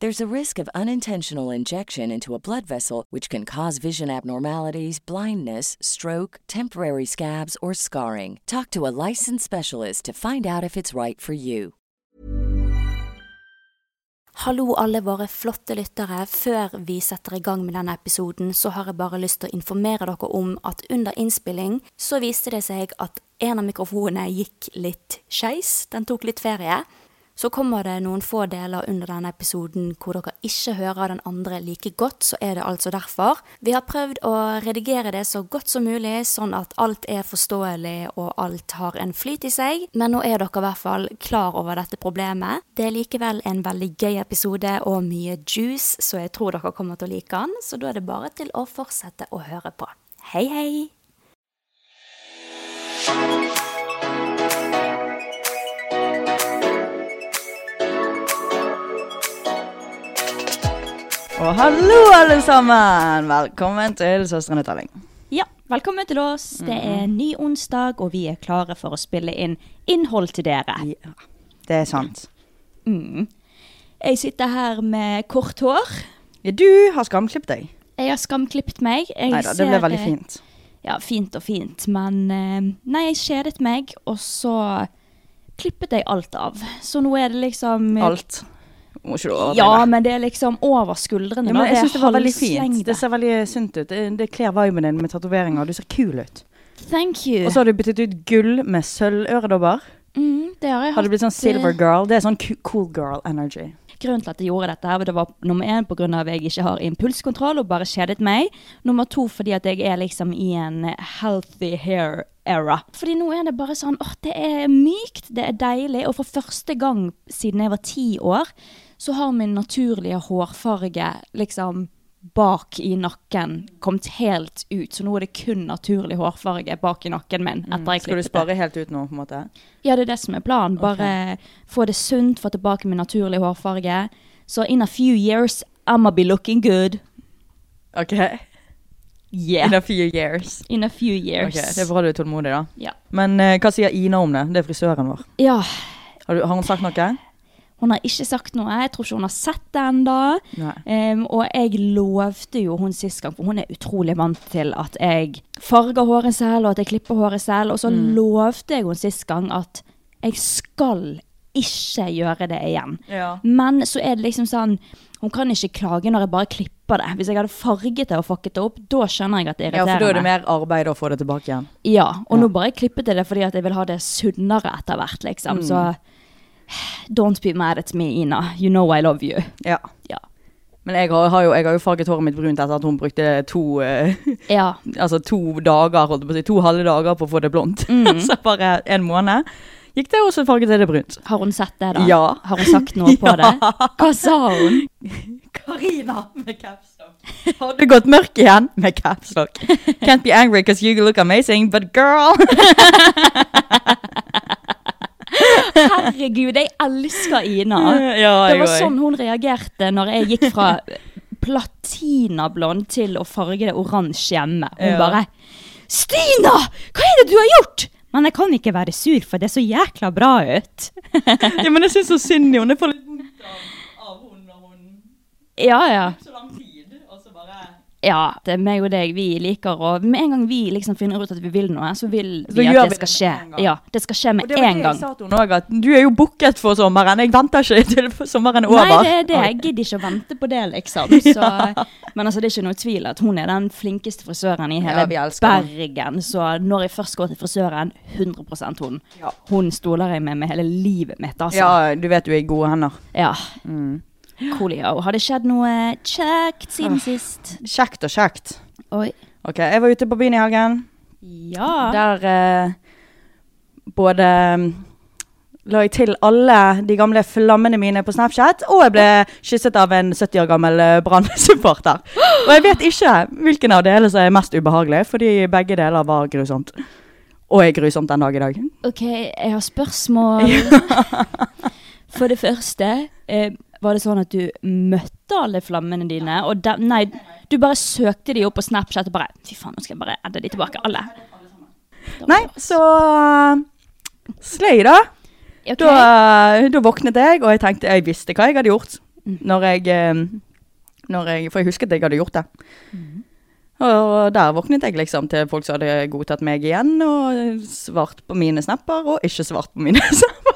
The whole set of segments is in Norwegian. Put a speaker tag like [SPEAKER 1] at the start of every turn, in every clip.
[SPEAKER 1] There's a risk of unintentional injection into a blood vessel, which can cause vision abnormalities, blindness, stroke, temporary scabs, or scarring. Talk to a licensed specialist to find out if it's right for you.
[SPEAKER 2] Hallo alle våre flotte lyttere. Før vi setter i gang med denne episoden, så har jeg bare lyst til å informere dere om at under innspilling så viste det seg at en av mikrofonene gikk litt skeis. Den tok litt ferie. Så kommer det noen få deler under denne episoden hvor dere ikke hører den andre like godt, så er det altså derfor. Vi har prøvd å redigere det så godt som mulig, sånn at alt er forståelig og alt har en flyt i seg, men nå er dere i hvert fall klar over dette problemet. Det er likevel en veldig gøy episode og mye juice, så jeg tror dere kommer til å like den, så da er det bare til å fortsette å høre på. Hei, hei!
[SPEAKER 3] Og hallo, alle sammen! Velkommen til Søstrene Telling.
[SPEAKER 4] Ja, velkommen til oss. Det er
[SPEAKER 2] Mhm.
[SPEAKER 4] ny onsdag, og vi er klare for å spille inn innhold til dere.
[SPEAKER 3] Det er sant.
[SPEAKER 4] Mm. Jeg sitter her med kort hår.
[SPEAKER 3] Ja, du har skamklippet deg.
[SPEAKER 4] Jeg har skamklippet meg. Jeg
[SPEAKER 3] Nei da, det
[SPEAKER 4] ser,
[SPEAKER 3] ble veldig
[SPEAKER 4] eh,
[SPEAKER 3] fint.
[SPEAKER 4] Ja, fint og fint, men eh, Nei, jeg kjedet meg, og så klippet jeg alt av. Så nå er det liksom
[SPEAKER 3] Alt. Må ikke du overdrive.
[SPEAKER 4] Ja, men det er liksom over skuldrene. da.
[SPEAKER 3] Ja, men jeg
[SPEAKER 4] er
[SPEAKER 3] syns det var veldig fint.
[SPEAKER 4] halslengde.
[SPEAKER 3] Det ser veldig sunt ut. Det, det kler viben din med tatoveringer. Du ser kul ut.
[SPEAKER 4] Thank you.
[SPEAKER 3] Og så har du byttet ut gull med sølvøredobber.
[SPEAKER 4] mm, det har jeg
[SPEAKER 3] Har
[SPEAKER 4] hatt.
[SPEAKER 3] du
[SPEAKER 4] eh,
[SPEAKER 3] blitt sånn silver girl? Det er sånn ku- cool girl energy.
[SPEAKER 4] Grunnen til at jeg gjorde dette, her, det var nummer én pga. at jeg ikke har impulskontroll og bare kjedet meg. Nummer to fordi at jeg er liksom i en healthy hair era. Fordi nå er det bare sånn åh, det er mykt, det er deilig. Og for første gang siden jeg var ti år, så har min naturlige hårfarge liksom bak i nakken kommet helt ut. Så nå er det kun naturlig hårfarge bak i nakken min. etter jeg
[SPEAKER 3] Mm, Skal du
[SPEAKER 4] klippet det.
[SPEAKER 3] spare helt ut nå, på en måte?
[SPEAKER 4] Ja, det er det som er planen. Bare få det sunt, få tilbake min naturlige hårfarge. Så in a few years, I'ma be looking good.
[SPEAKER 3] OK.
[SPEAKER 4] Yeah.
[SPEAKER 3] In a few years.
[SPEAKER 4] In a few years.
[SPEAKER 3] Ok, det er bra du er tålmodig, da.
[SPEAKER 4] Ja.
[SPEAKER 3] Men eh, hva sier Ina om det? Det er frisøren vår.
[SPEAKER 4] ja.
[SPEAKER 3] Har, du, har hun sagt noe?
[SPEAKER 4] Hun har ikke sagt noe. Jeg tror ikke hun har sett det ennå.
[SPEAKER 3] Nei.
[SPEAKER 4] Em, og jeg lovte jo hun sist gang, for hun er utrolig vant til at jeg farger håret selv, og at jeg klipper håret selv. Og så
[SPEAKER 3] Mm.
[SPEAKER 4] lovte jeg hun sist gang at jeg skal ikke gjøre det igjen.
[SPEAKER 3] Ja.
[SPEAKER 4] Men så er det liksom sånn Hun kan ikke klage når jeg bare klipper det. Hvis jeg hadde farget det og fucket det opp, da skjønner jeg at det er
[SPEAKER 3] Ja, for da er
[SPEAKER 4] irriterende.
[SPEAKER 3] det mer arbeid å få det tilbake igjen.
[SPEAKER 4] Ja, og nå bare klippet jeg det fordi at jeg vil ha det sunnere etter hvert, liksom. Så don't be mad at me, Ina. You know I love you.
[SPEAKER 3] Ja.
[SPEAKER 4] Ja.
[SPEAKER 3] Men jeg har, har jo, jeg har jo farget håret mitt brunt etter at hun brukte to, eh,
[SPEAKER 4] ja.
[SPEAKER 3] Mm. altså to dager, holdt jeg på å si, to halve dager på å få det blondt. så bare en måned. Gikk det, og så farget jeg det brunt.
[SPEAKER 4] Har hun sett det, da?
[SPEAKER 3] Ja.
[SPEAKER 4] Har hun sagt noe på
[SPEAKER 3] Ja.
[SPEAKER 4] det? Hva sa hun?
[SPEAKER 3] Karina med capstock. Har du gått mørk igjen med capstock? Can't be angry because you look amazing, but girl
[SPEAKER 4] Herregud, jeg elsker Ina.
[SPEAKER 3] Ja,
[SPEAKER 4] Det
[SPEAKER 3] jeg
[SPEAKER 4] var
[SPEAKER 3] også.
[SPEAKER 4] sånn hun reagerte når jeg gikk fra platinablond til å farge det oransje hjemme. Hun
[SPEAKER 3] Ja.
[SPEAKER 4] bare Stina! Hva er det du har gjort? Men jeg kan ikke være sur, for det er så jækla bra ut.
[SPEAKER 3] Ja, men jeg syns så synd i henne. Jeg får litt vondt av, av hun når hun
[SPEAKER 4] Ja, ja.
[SPEAKER 3] Så lang tid, og så bare
[SPEAKER 4] Ja, det er meg og deg, vi liker å Med en gang vi liksom finner ut at vi vil noe, så vil
[SPEAKER 3] Så
[SPEAKER 4] vi
[SPEAKER 3] gjør
[SPEAKER 4] at
[SPEAKER 3] vi
[SPEAKER 4] det skal
[SPEAKER 3] det
[SPEAKER 4] skje.
[SPEAKER 3] med en gang.
[SPEAKER 4] Ja, det skal skje
[SPEAKER 3] Og
[SPEAKER 4] med
[SPEAKER 3] det
[SPEAKER 4] en
[SPEAKER 3] var det jeg
[SPEAKER 4] gang.
[SPEAKER 3] sa til henne òg, at du er jo booket for sommeren. Jeg venter ikke til sommeren er over.
[SPEAKER 4] Nei, det er det. Jeg gidder ikke å vente på det, liksom. Så, men altså, det er ikke noe tvil at hun er den flinkeste frisøren i hele
[SPEAKER 3] Ja, vi elsker henne.
[SPEAKER 4] Bergen. Så når jeg først går til frisøren, 100 hun.
[SPEAKER 3] Ja.
[SPEAKER 4] Hun stoler jeg med med hele livet mitt,
[SPEAKER 3] Ja,
[SPEAKER 4] altså.
[SPEAKER 3] du vet du er i gode hender. Mm.
[SPEAKER 4] Ja. Coolio. Har det skjedd noe kjekt siden
[SPEAKER 3] Ah.
[SPEAKER 4] sist?
[SPEAKER 3] Kjekt og kjekt.
[SPEAKER 4] Oi.
[SPEAKER 3] Ok, Jeg var ute på byen i hagen.
[SPEAKER 4] Ja.
[SPEAKER 3] Der eh, både mm, la jeg til alle de gamle flammene mine på Snapchat, og jeg ble kysset av en 70 år gammel eh, Brann-supporter. Og jeg vet ikke hvilken av delene som er mest ubehagelig, fordi begge deler var grusomt. Og er grusomt den dag i dag.
[SPEAKER 4] OK, jeg har spørsmål. For det første, eh, var det sånn at du møtte alle flammene dine? Og da- nei, du bare søkte de opp på Snapchat og bare Fy faen, nå skal jeg bare edde de tilbake, alle. Da var
[SPEAKER 3] Nei,
[SPEAKER 4] det-
[SPEAKER 3] så eh, sløy, da.
[SPEAKER 4] Ok. Mm.
[SPEAKER 3] Da, da våknet jeg, og jeg tenkte jeg visste hva jeg hadde gjort. Når jeg, eh, når jeg, for jeg husket jeg hadde gjort det.
[SPEAKER 4] Mm.
[SPEAKER 3] Og der våknet jeg liksom til folk som hadde godtatt meg igjen, og svart på mine snapper, og ikke svart på mine snapper.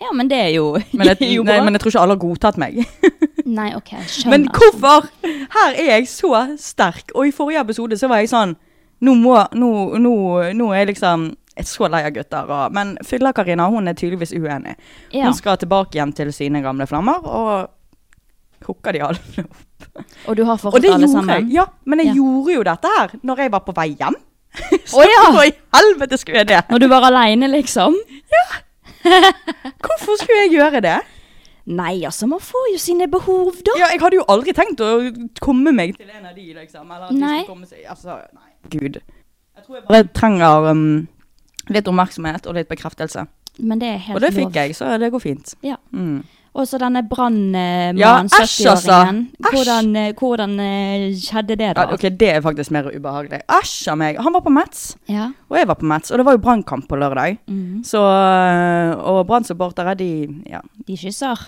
[SPEAKER 4] Ja, men det er jo,
[SPEAKER 3] Men jeg,
[SPEAKER 4] jo
[SPEAKER 3] nei,
[SPEAKER 4] bra.
[SPEAKER 3] men jeg tror ikke alle har godtatt meg.
[SPEAKER 4] Nei, OK, skjønner.
[SPEAKER 3] Men hvorfor? Her er jeg så sterk, og i forrige episode så var jeg sånn, nå må, nå, nå, nå er jeg liksom, jeg er så lei av gutter, og, men Fylla Karina, hun er tydeligvis uenig.
[SPEAKER 4] ja.
[SPEAKER 3] Hun skal tilbake igjen til sine gamle flammer og hooker de alle opp.
[SPEAKER 4] Og du har fått
[SPEAKER 3] Og det
[SPEAKER 4] alle
[SPEAKER 3] gjorde
[SPEAKER 4] sammen?
[SPEAKER 3] jeg. Ja, men jeg
[SPEAKER 4] Ja.
[SPEAKER 3] gjorde jo dette her når jeg var på vei hjem.
[SPEAKER 4] Å ja!
[SPEAKER 3] Hvorfor i helvete skulle jeg det?
[SPEAKER 4] Når du var aleine, liksom?
[SPEAKER 3] Hvorfor skulle jeg gjøre det?
[SPEAKER 4] Nei, altså, man får jo sine behov, da.
[SPEAKER 3] Ja, jeg hadde jo aldri tenkt å komme meg til en av de, liksom. Eller at de
[SPEAKER 4] Nei.
[SPEAKER 3] skulle komme seg Altså, nei. Gud. Jeg tror jeg bare trenger um, litt oppmerksomhet og litt bekreftelse.
[SPEAKER 4] Men det er helt
[SPEAKER 3] Og det
[SPEAKER 4] lov.
[SPEAKER 3] fikk jeg, så det går fint.
[SPEAKER 4] Ja.
[SPEAKER 3] Mm.
[SPEAKER 4] Og så denne brannmannen,
[SPEAKER 3] Ja, æsj,
[SPEAKER 4] 70-åringen.
[SPEAKER 3] altså. Æsj.
[SPEAKER 4] Hvordan, eh, hvordan eh, skjedde det, da?
[SPEAKER 3] Ja, ok, det er faktisk mer ubehagelig. Æsj av meg. Han var på Mats.
[SPEAKER 4] Ja. Mm,
[SPEAKER 3] Og jeg var på Mets, og det var jo brannkamp på lørdag. Så, øh, og brannsupportere, de ja,
[SPEAKER 4] De kysser.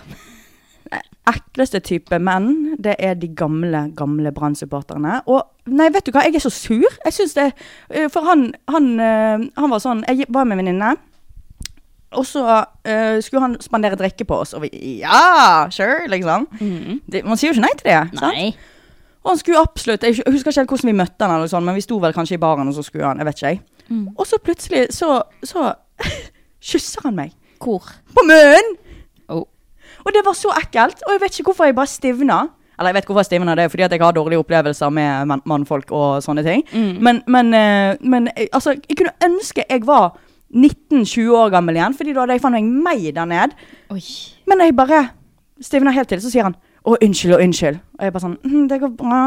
[SPEAKER 3] ekleste type menn, det er de gamle, gamle brannsupporterne. Og nei, vet du hva, jeg er så sur. Jeg synes det, eh, for han, han, eh, han var sånn, jeg var med en venninne, og så eh, skulle han spandere drikke på oss, og vi, ja, sure, liksom. Det, man sier jo ikke nei til det, sant?
[SPEAKER 4] Nei.
[SPEAKER 3] Og han skulle absolutt, jeg husker ikke helt hvordan vi møtte han eller noe sånt, men vi sto vel kanskje i baren, og så skulle han, jeg vet ikke jeg. Og så plutselig, så, så kysser han meg.
[SPEAKER 4] Hvor?
[SPEAKER 3] På munnen!
[SPEAKER 4] Oh.
[SPEAKER 3] Og det var så ekkelt, og jeg vet ikke hvorfor jeg bare stivna. Eller jeg vet hvorfor jeg stivna, det er fordi at jeg har dårlige opplevelser med mann- mannfolk og sånne ting.
[SPEAKER 4] Mm.
[SPEAKER 3] Men, men, eh, men eh, altså, jeg kunne ønske jeg var 19-20 år gammel igjen, fordi da hadde jeg faen meg meg der ned.
[SPEAKER 4] Oi.
[SPEAKER 3] Men jeg bare stivner helt til, så sier han å, unnskyld og unnskyld. Og jeg bare sånn, «Mhm, det går bra.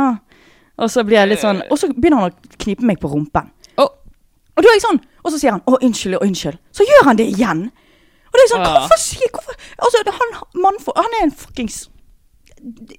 [SPEAKER 3] Og så blir jeg litt sånn, og så begynner han å knipe meg på rumpen.
[SPEAKER 4] Å.
[SPEAKER 3] Og da er jeg sånn, og så sier han å, unnskyld og unnskyld. Så gjør han det igjen. Og det er sånn,
[SPEAKER 4] Ja.
[SPEAKER 3] hvorfor sier, hvorfor? Altså, det- han, mannfo- han er en fuckings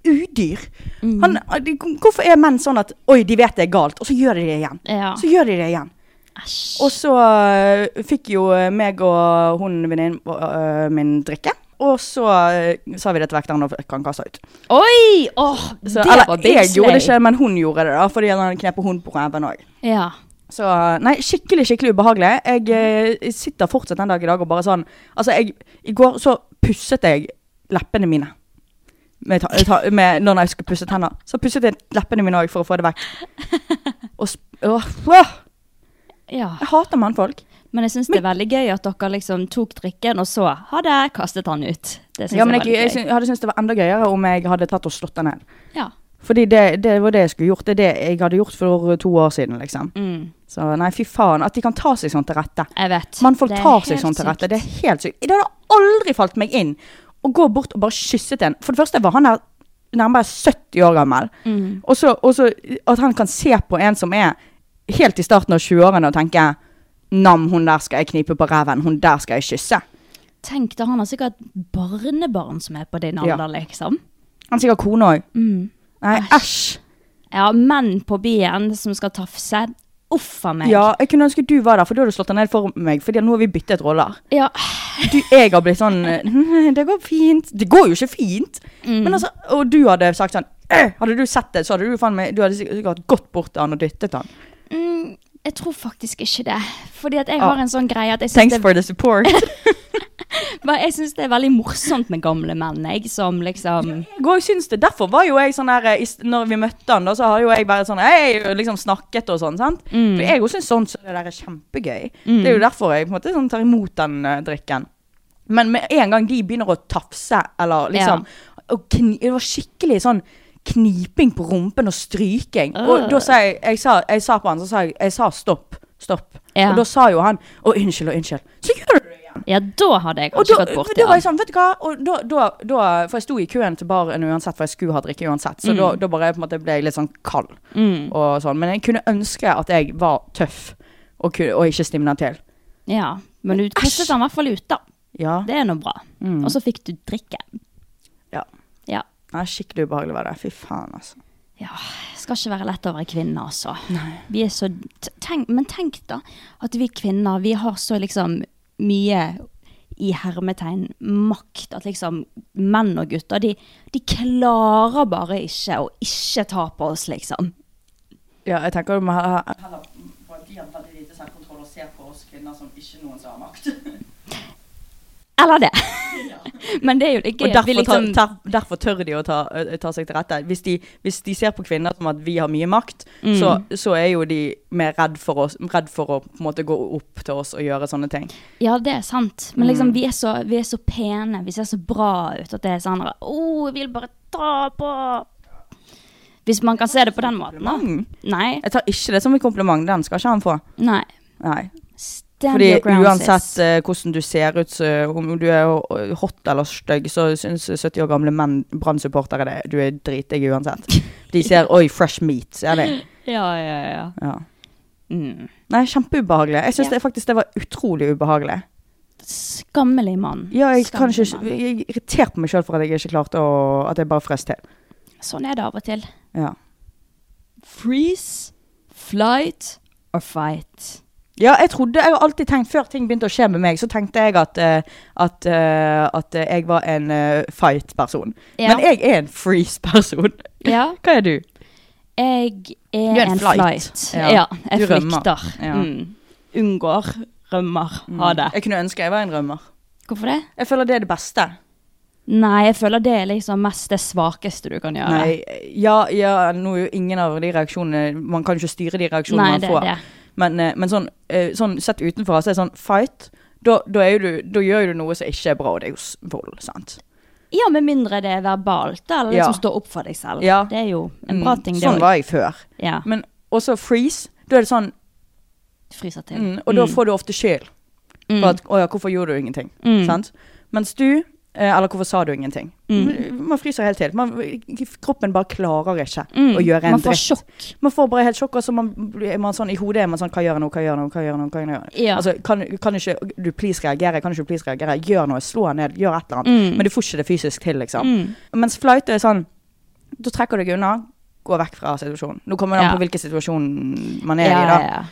[SPEAKER 3] udyr.
[SPEAKER 4] Mm.
[SPEAKER 3] Han, de- hvorfor er menn sånn at, oi, de vet det er galt, og så gjør de det igjen.
[SPEAKER 4] Ja.
[SPEAKER 3] Så gjør de det igjen.
[SPEAKER 4] Æsj.
[SPEAKER 3] Og så øh, fikk jo meg og hun venninnen øh, min drikke. Og så øh, sa vi det til vekteren og fikk han kassa ut.
[SPEAKER 4] Oi! Åh,
[SPEAKER 3] Så,
[SPEAKER 4] det
[SPEAKER 3] eller
[SPEAKER 4] var big
[SPEAKER 3] jeg gjorde det
[SPEAKER 4] slay.
[SPEAKER 3] ikke, men hun gjorde det, da, fordi han knep hun på ræven òg.
[SPEAKER 4] Ja.
[SPEAKER 3] Så nei, skikkelig, skikkelig ubehagelig. Jeg
[SPEAKER 4] Mhm.
[SPEAKER 3] eh, sitter fortsatt den dag i dag og bare sånn Altså, jeg I går så pusset jeg leppene mine. Med, ta, ta, med, når jeg skulle pusse tenner. Så pusset jeg leppene mine òg for å få det vekk. Og sp... Åh, åh,
[SPEAKER 4] ja.
[SPEAKER 3] jeg hater mannfolk.
[SPEAKER 4] Men jeg syns det er veldig gøy at dere liksom tok drikken, og så ha det, kastet han ut. Det syns
[SPEAKER 3] Ja, men
[SPEAKER 4] jeg
[SPEAKER 3] jeg,
[SPEAKER 4] er veldig
[SPEAKER 3] jeg,
[SPEAKER 4] gøy.
[SPEAKER 3] syn- hadde syntes det var enda gøyere om jeg hadde tatt og slått den ned.
[SPEAKER 4] Ja.
[SPEAKER 3] Fordi det, det var det jeg skulle gjort. Det er det jeg hadde gjort for to år siden, liksom.
[SPEAKER 4] Mm.
[SPEAKER 3] Så nei, fy faen. At de kan ta seg sånn til rette.
[SPEAKER 4] Jeg vet.
[SPEAKER 3] Mannfolk
[SPEAKER 4] Det er
[SPEAKER 3] tar seg
[SPEAKER 4] helt
[SPEAKER 3] sånn til rette.
[SPEAKER 4] sykt.
[SPEAKER 3] Det er helt sykt. Det hadde aldri falt meg inn å gå bort og bare kysse en. For det første var han der nærmere 70 år gammel. Og så og så at han kan se på en som er helt i starten av 20-årene og tenke Nam, hun der skal jeg knipe på ræven. Hun der skal jeg kysse.
[SPEAKER 4] Tenk da, han har sikkert barnebarn som er på din
[SPEAKER 3] Ja.
[SPEAKER 4] alder, liksom. Mm.
[SPEAKER 3] Han sikkert kone òg. Nei, æsj.
[SPEAKER 4] Ja, menn på byen som skal tafse. Uff a meg.
[SPEAKER 3] Ja, jeg kunne ønske du var der, for da hadde du slått deg ned for meg. Fordi nå har vi byttet roller.
[SPEAKER 4] Ja.
[SPEAKER 3] Du, jeg har blitt sånn «Hm, Det går fint. Det går jo ikke fint. Men altså, og du hadde sagt sånn «Øh», Hadde du sett det, så hadde du faen meg Du hadde sikkert sikkert gått bort til han og dyttet han.
[SPEAKER 4] Mm, jeg tror faktisk ikke det. Fordi at jeg
[SPEAKER 3] Ja.
[SPEAKER 4] har en sånn greie at jeg syns
[SPEAKER 3] Thanks
[SPEAKER 4] det,
[SPEAKER 3] for the support.
[SPEAKER 4] Hva- jeg synes det er veldig morsomt med gamle menn, jeg, som liksom
[SPEAKER 3] Jeg også syns det. Derfor var jo jeg sånn der eh, i st- Når vi møtte han, da, så har jo jeg bare sånn Hei, og liksom snakket og sånn, sant. For jeg også syns sånn så det der er kjempegøy. Det er jo derfor jeg på en måte sånn tar imot den eh, drikken. Men med en gang de begynner å tafse, eller liksom og kni, Det var skikkelig sånn kniping på rumpen og stryking. Og da sa jeg jeg sa, jeg sa på han, så sa jeg, jeg sa stopp. Stopp.
[SPEAKER 4] Ja.
[SPEAKER 3] Og da sa jo han å unnskyld og unnskyld. Så gjør du det igjen.
[SPEAKER 4] Ja, da hadde jeg
[SPEAKER 3] Og
[SPEAKER 4] kanskje
[SPEAKER 3] da,
[SPEAKER 4] gått bort
[SPEAKER 3] da
[SPEAKER 4] til
[SPEAKER 3] var jeg
[SPEAKER 4] han.
[SPEAKER 3] sånn, vet du hva og da, da, da, For jeg sto i køen til baren uansett, for jeg skulle ha drikke uansett. Så da, da bare på en måte ble jeg litt sånn kald. Og sånn. Men jeg kunne ønske at jeg var tøff og, ku- og ikke stimna til.
[SPEAKER 4] Ja, men du kastet han i hvert fall ut, da.
[SPEAKER 3] Ja.
[SPEAKER 4] Det er nå bra. Og så fikk du drikke.
[SPEAKER 3] Mm. ja.
[SPEAKER 4] Ja.
[SPEAKER 3] Nei, skikkelig ubehagelig var det. Fy faen, altså.
[SPEAKER 4] Ja, skal ikke være lett å være kvinne, altså. Vi er så t- tenk, Men tenk da, at vi kvinner, vi har så liksom mye i hermetegn makt at liksom menn og gutter, de, de klarer bare ikke å ikke ta på oss, liksom.
[SPEAKER 3] Ja, jeg tenker du må ha de har veldig lite selvkontroll sånn og ser på oss kvinner som ikke noen som har makt.
[SPEAKER 4] Eller det. Men det er jo det
[SPEAKER 3] Og
[SPEAKER 4] gøy. at vi
[SPEAKER 3] derfor,
[SPEAKER 4] liksom,
[SPEAKER 3] ta, ta, derfor tør de å ta, ø, ta seg til rette. Hvis de, hvis de ser på kvinner som at vi har mye makt,
[SPEAKER 4] Mm.
[SPEAKER 3] så, så er jo de mer redd for, oss, redd for å på en måte gå opp til oss og gjøre sånne ting.
[SPEAKER 4] Ja, det er sant. Men liksom,
[SPEAKER 3] Mm.
[SPEAKER 4] vi, er så, vi er så pene, vi ser så bra ut at det er sånn Å, jeg vil bare ta på Hvis man kan se det på den måten, da.
[SPEAKER 3] Mm.
[SPEAKER 4] Nei.
[SPEAKER 3] Jeg tar ikke det som en kompliment. Den skal ikke han få.
[SPEAKER 4] nei.
[SPEAKER 3] Nei.
[SPEAKER 4] Stand
[SPEAKER 3] Fordi
[SPEAKER 4] your ground,
[SPEAKER 3] uansett eh,
[SPEAKER 4] sis.
[SPEAKER 3] ø, hvordan du ser ut, så, om du er ø, hot eller stygg, så syns 70 år gamle menn, Brann-supportere, det. Du er dritdigg uansett. De ser 'oi, fresh meat', ser de.
[SPEAKER 4] Ja, ja, ja.
[SPEAKER 3] Ja.
[SPEAKER 4] Mm.
[SPEAKER 3] Nei, kjempeubehagelig. Jeg syns
[SPEAKER 4] Ja.
[SPEAKER 3] det, faktisk det var utrolig ubehagelig.
[SPEAKER 4] Skammelig mann.
[SPEAKER 3] Ja, jeg kan
[SPEAKER 4] Skammelig
[SPEAKER 3] ikke Jeg er irritert på meg sjøl for at jeg ikke klarte å At jeg bare frøs til.
[SPEAKER 4] mann. Sånn er det av og til.
[SPEAKER 3] Ja.
[SPEAKER 4] Freeze, flight or fight.
[SPEAKER 3] ja, jeg trodde Jeg har alltid tenkt Før ting begynte å skje med meg, så tenkte jeg at eh, At, eh, at eh, jeg var en eh, fight-person.
[SPEAKER 4] Ja.
[SPEAKER 3] Men jeg er en freeze-person.
[SPEAKER 4] Ja.
[SPEAKER 3] Hva er du?
[SPEAKER 4] Jeg er,
[SPEAKER 3] Du er en
[SPEAKER 4] en
[SPEAKER 3] flight.
[SPEAKER 4] flight.
[SPEAKER 3] Ja.
[SPEAKER 4] Ja.
[SPEAKER 3] Du
[SPEAKER 4] jeg
[SPEAKER 3] rømmer.
[SPEAKER 4] flykter.
[SPEAKER 3] Ja.
[SPEAKER 4] Mm. Unngår, rømmer, Mm. ha det.
[SPEAKER 3] Jeg kunne ønske jeg var en rømmer.
[SPEAKER 4] Hvorfor det?
[SPEAKER 3] Jeg føler det er det beste.
[SPEAKER 4] Nei, jeg føler det er liksom mest det svakeste du kan gjøre.
[SPEAKER 3] Nei, ja, ja, nå er jo ingen av de reaksjonene Man kan jo ikke styre de reaksjonene
[SPEAKER 4] Nei,
[SPEAKER 3] man
[SPEAKER 4] det
[SPEAKER 3] får.
[SPEAKER 4] er det.
[SPEAKER 3] Men, eh, men sånn, eh, sånn sett utenfra så er det sånn fight. Da, da, er jo du, da gjør jo du noe som ikke er bra, og det er jo s- vold. sant?
[SPEAKER 4] Ja, med mindre det er verbalt, da, eller
[SPEAKER 3] Ja.
[SPEAKER 4] liksom stå opp for deg selv.
[SPEAKER 3] Ja.
[SPEAKER 4] Det er jo en bra
[SPEAKER 3] Mm,
[SPEAKER 4] ting, det
[SPEAKER 3] Sånn
[SPEAKER 4] òg.
[SPEAKER 3] var jeg før.
[SPEAKER 4] Ja.
[SPEAKER 3] Men også freeze. Da er det sånn,
[SPEAKER 4] Fryser til. Mm.
[SPEAKER 3] mm, og da får du ofte skyld. For at, å ja, hvorfor gjorde du ingenting? Sant? Mens du, eh, eller hvorfor sa du ingenting?
[SPEAKER 4] Mm.
[SPEAKER 3] Man fryser helt til. Man, kroppen bare klarer ikke å gjøre
[SPEAKER 4] Mm.
[SPEAKER 3] en
[SPEAKER 4] Man får
[SPEAKER 3] dritt.
[SPEAKER 4] sjokk.
[SPEAKER 3] Man får bare helt sjokk, og så man, er man sånn, i hodet er man sånn Hva gjør jeg nå, hva gjør jeg nå, hva gjør jeg nå? Hva gjør jeg nå?
[SPEAKER 4] Ja.
[SPEAKER 3] Altså, kan, kan ikke du please reagere? Kan ikke du please reagere? Gjør noe, slå han ned, gjør et eller annet.
[SPEAKER 4] Mm.
[SPEAKER 3] Men du får ikke det fysisk til, liksom. Mens flight er sånn Da trekker du deg unna, gå vekk fra situasjonen. Nå kommer det an
[SPEAKER 4] Ja.
[SPEAKER 3] på hvilken situasjon man
[SPEAKER 4] Ja,
[SPEAKER 3] er i,
[SPEAKER 4] ja,
[SPEAKER 3] da.
[SPEAKER 4] ja.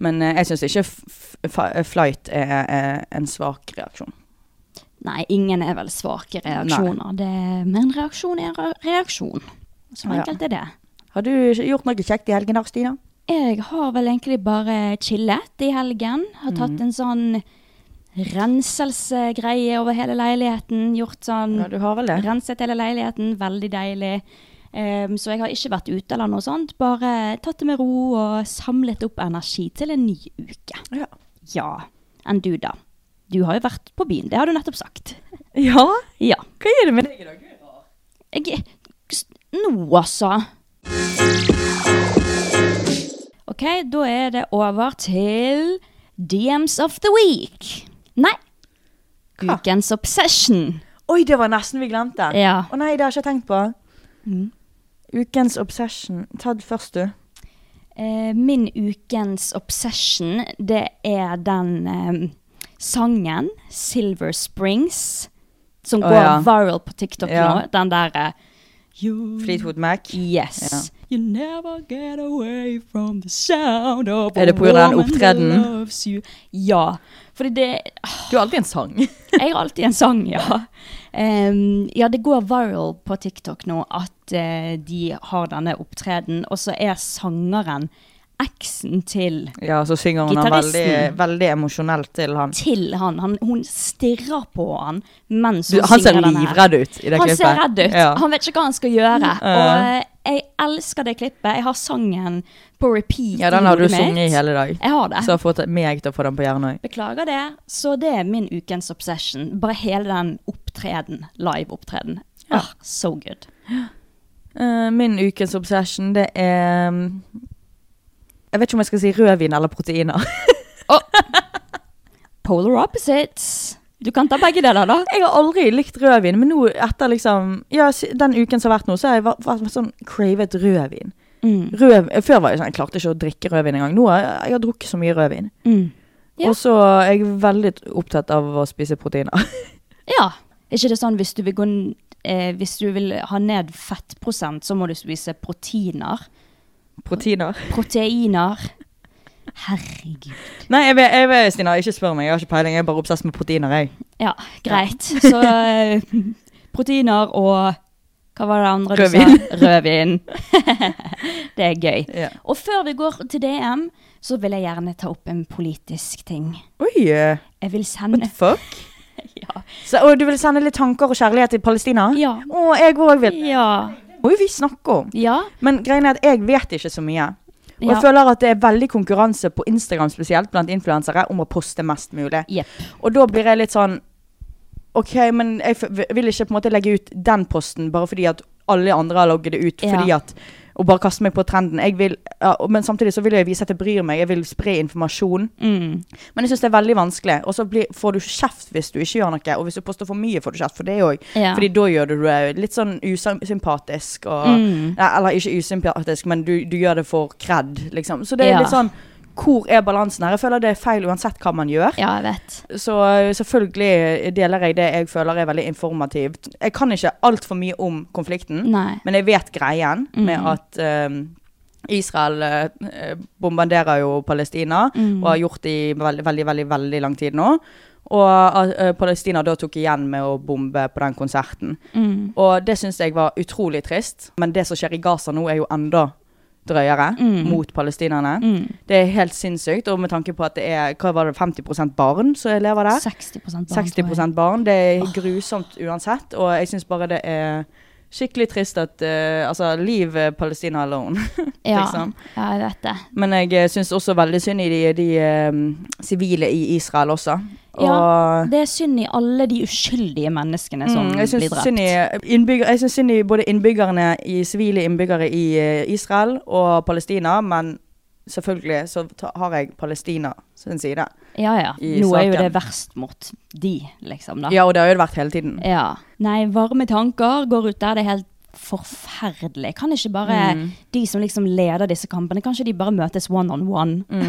[SPEAKER 3] Men eh, jeg syns ikke f f flight er, er en svak reaksjon.
[SPEAKER 4] Nei, ingen er vel svake reaksjoner. Det, men en reaksjon er en re- reaksjon. Så
[SPEAKER 3] Ja.
[SPEAKER 4] enkelt er det.
[SPEAKER 3] Har du gjort noe kjekt i helgen, da, Stina?
[SPEAKER 4] Jeg har vel egentlig bare chillet i helgen. Har tatt
[SPEAKER 3] Mm.
[SPEAKER 4] en sånn renselsegreie over hele leiligheten. Gjort sånn
[SPEAKER 3] Ja, du har vel det.
[SPEAKER 4] Renset hele leiligheten, veldig deilig. Ehm, så jeg har ikke vært ute eller noe sånt. Bare tatt det med ro og samlet opp energi til en ny uke.
[SPEAKER 3] Ja.
[SPEAKER 4] Ja. Enn du, da? Du har jo vært på byen, det har du nettopp sagt.
[SPEAKER 3] ja?
[SPEAKER 4] Ja.
[SPEAKER 3] Hva er det med deg i dag?
[SPEAKER 4] Jeg, nå, altså. OK, da er det over til DMs of the week. Nei.
[SPEAKER 3] Hva?
[SPEAKER 4] Ukens obsession.
[SPEAKER 3] Oi, det var nesten vi glemte. Å
[SPEAKER 4] Ja. Mm.
[SPEAKER 3] nei, det har jeg ikke tenkt på. Ukens obsession. Ta det først, du.
[SPEAKER 4] Eh, min ukens obsession, det er den eh, sangen 'Silver Springs', som
[SPEAKER 3] Å,
[SPEAKER 4] går
[SPEAKER 3] ja.
[SPEAKER 4] viral på TikTok
[SPEAKER 3] Ja.
[SPEAKER 4] nå. Den eh, derre
[SPEAKER 3] Mm. Fleetwood Mac.
[SPEAKER 4] Yes. You never get away from the sound of
[SPEAKER 3] Er det
[SPEAKER 4] a
[SPEAKER 3] på grunn av den
[SPEAKER 4] woman that
[SPEAKER 3] opptredenen?
[SPEAKER 4] loves you. Ja. Fordi det
[SPEAKER 3] Du har alltid en sang.
[SPEAKER 4] Jeg har alltid en sang, ja. Em, ja, det går viral på TikTok nå at eh, de har denne opptreden, og så er sangeren eksen til
[SPEAKER 3] ja, så synger hun han veldig,
[SPEAKER 4] Gitaristen.
[SPEAKER 3] veldig emosjonelt til han.
[SPEAKER 4] til han. han hun stirrer på han mens
[SPEAKER 3] Du,
[SPEAKER 4] hun
[SPEAKER 3] han ser
[SPEAKER 4] synger denne her.
[SPEAKER 3] livredd ut i det
[SPEAKER 4] Han
[SPEAKER 3] klippet.
[SPEAKER 4] ser redd ut.
[SPEAKER 3] Ja. Mm.
[SPEAKER 4] Han vet ikke hva han skal gjøre. Og
[SPEAKER 3] Ja.
[SPEAKER 4] eh, jeg elsker det klippet. Jeg har sangen på repeat.
[SPEAKER 3] ja,
[SPEAKER 4] i
[SPEAKER 3] den har du
[SPEAKER 4] hodet mitt.
[SPEAKER 3] sunget i hele dag.
[SPEAKER 4] Jeg har det.
[SPEAKER 3] Så har fått meg til å få den på hjernen òg.
[SPEAKER 4] Beklager det. Så det er min ukens obsession. Bare hele den opptreden. Live-opptreden.
[SPEAKER 3] Ja.
[SPEAKER 4] Ah, so good.
[SPEAKER 3] Eh, min ukens obsession, det er mm, Jeg vet ikke om jeg skal si rødvin eller proteiner.
[SPEAKER 4] Polar opposites. Du kan ta begge deler, da.
[SPEAKER 3] jeg har aldri likt rødvin, men nå etter liksom Ja, s- den uken som har vært nå, så har jeg vært, vært sånn cravet rødvin.
[SPEAKER 4] Mm,
[SPEAKER 3] Rød, før var jeg sånn, jeg klarte ikke å drikke rødvin engang. Nå har jeg, jeg har drukket så mye rødvin.
[SPEAKER 4] Ja.
[SPEAKER 3] Og så er jeg veldig opptatt av å spise proteiner.
[SPEAKER 4] Ja. Er ikke det sånn hvis du vil, gå, n- eh, hvis du vil ha ned fettprosent, så må du spise proteiner?
[SPEAKER 3] proteiner?
[SPEAKER 4] Proteiner. Herregud.
[SPEAKER 3] Nei, jeg vet, jeg vet, Stina, ikke spør meg. Jeg har ikke peiling. Jeg er bare obsess med proteiner, jeg.
[SPEAKER 4] Ja, greit. Så eh, proteiner og Hva var det andre
[SPEAKER 3] Rødvin.
[SPEAKER 4] du sa? Rødvin. det er gøy.
[SPEAKER 3] Ja.
[SPEAKER 4] Og før vi går til DM, så vil jeg gjerne ta opp en politisk ting.
[SPEAKER 3] Oi, eh,
[SPEAKER 4] Jeg vil
[SPEAKER 3] what the
[SPEAKER 4] sende
[SPEAKER 3] fuck?
[SPEAKER 4] Ja.
[SPEAKER 3] Så, og du vil sende litt tanker og kjærlighet til Palestina?
[SPEAKER 4] Ja.
[SPEAKER 3] Å, jeg òg vil.
[SPEAKER 4] Ja.
[SPEAKER 3] Oi, vi snakker om.
[SPEAKER 4] ja.
[SPEAKER 3] Men greien er at jeg vet ikke så mye. Og
[SPEAKER 4] Ja.
[SPEAKER 3] jeg føler at det er veldig konkurranse på Instagram spesielt blant influensere om å poste mest mulig.
[SPEAKER 4] Jepp.
[SPEAKER 3] Og da blir jeg litt sånn OK, men jeg f vil ikke på en måte legge ut den posten bare fordi at alle andre har logget det ut.
[SPEAKER 4] Ja.
[SPEAKER 3] fordi at Og bare kaste meg på trenden. Jeg vil, ja, og- men samtidig så vil jeg vise at jeg bryr meg. Jeg vil spre informasjon.
[SPEAKER 4] Mm.
[SPEAKER 3] Men jeg syns det er veldig vanskelig. Og så blir, får du kjeft hvis du ikke gjør noe. Og hvis du poster for mye, får du kjeft for det òg.
[SPEAKER 4] Ja.
[SPEAKER 3] Fordi da gjør du det litt sånn usympatisk. Og,
[SPEAKER 4] Mm.
[SPEAKER 3] nei, eller ikke usympatisk, men du, du gjør det for cred, liksom. Så det er
[SPEAKER 4] Ja.
[SPEAKER 3] litt sånn Hvor er balansen her? Jeg føler det er feil uansett hva man gjør.
[SPEAKER 4] Ja, jeg vet.
[SPEAKER 3] Så eh, selvfølgelig deler jeg det jeg føler er veldig informativt. Jeg kan ikke altfor mye om konflikten,
[SPEAKER 4] Nei.
[SPEAKER 3] men jeg vet greien med at eh, Israel eh, eh, bombarderer jo Palestina,
[SPEAKER 4] Mm.
[SPEAKER 3] og har gjort det i veldig, veldig, veldig, veldig lang tid nå. Og eh, Palestina da tok igjen med å bombe på den konserten.
[SPEAKER 4] Mm.
[SPEAKER 3] Og det syns jeg var utrolig trist. Men det som skjer i Gaza nå, er jo enda drøyere
[SPEAKER 4] Mm.
[SPEAKER 3] mot palestinerne. Det er helt sinnssykt. Og med tanke på at det er hva var det, 50 barn som lever der.
[SPEAKER 4] 60 barn. tror jeg.
[SPEAKER 3] 60 barn. Det er grusomt uansett. Og jeg syns bare det er skikkelig trist at eh, Altså, leave Palestina alone,
[SPEAKER 4] Ja.
[SPEAKER 3] liksom.
[SPEAKER 4] ja, jeg vet det.
[SPEAKER 3] Men jeg syns også veldig synd i de, de eh, sivile i Israel også. Og
[SPEAKER 4] Ja, det er synd i alle de uskyldige menneskene som
[SPEAKER 3] Mm, jeg
[SPEAKER 4] blir
[SPEAKER 3] syns
[SPEAKER 4] drept.
[SPEAKER 3] synd i, innbygger, jeg syns synd i både innbyggerne i sivile innbyggere i eh, Israel og Palestina, men selvfølgelig så ta, har jeg Palestina sin side.
[SPEAKER 4] ja, ja.
[SPEAKER 3] i
[SPEAKER 4] Nå er jo
[SPEAKER 3] saken.
[SPEAKER 4] det verst mot de, liksom, da.
[SPEAKER 3] Ja, og det har jo det vært hele tiden.
[SPEAKER 4] Ja. Nei, varme tanker går ut der. Det er helt forferdelig. Kan ikke bare
[SPEAKER 3] Mm.
[SPEAKER 4] de som liksom leder disse kampene, kanskje de bare møtes one on one?
[SPEAKER 3] Mm.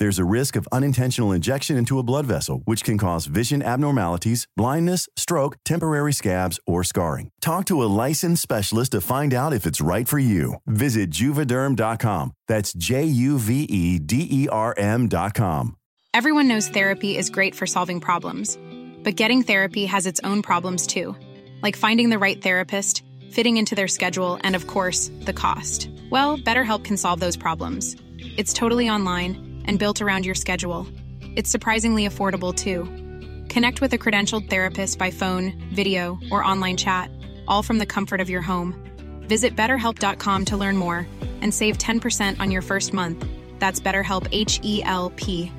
[SPEAKER 5] There's a risk of unintentional injection into a blood vessel, which can cause vision abnormalities, blindness, stroke, temporary scabs, or scarring. Talk to a licensed specialist to find out if it's right for you. Visit juvederm.com. That's J U V E D E R M.com.
[SPEAKER 6] Everyone knows therapy is great for solving problems, but getting therapy has its own problems too, like finding the right therapist, fitting into their schedule, and of course, the cost. Well, BetterHelp can solve those problems. It's totally online and built around your schedule. It's surprisingly affordable too. Connect with a credentialed therapist by phone, video, or online chat, all from the comfort of your home. Visit betterhelp.com to learn more and save 10% on your first month. That's BetterHelp, H E L P.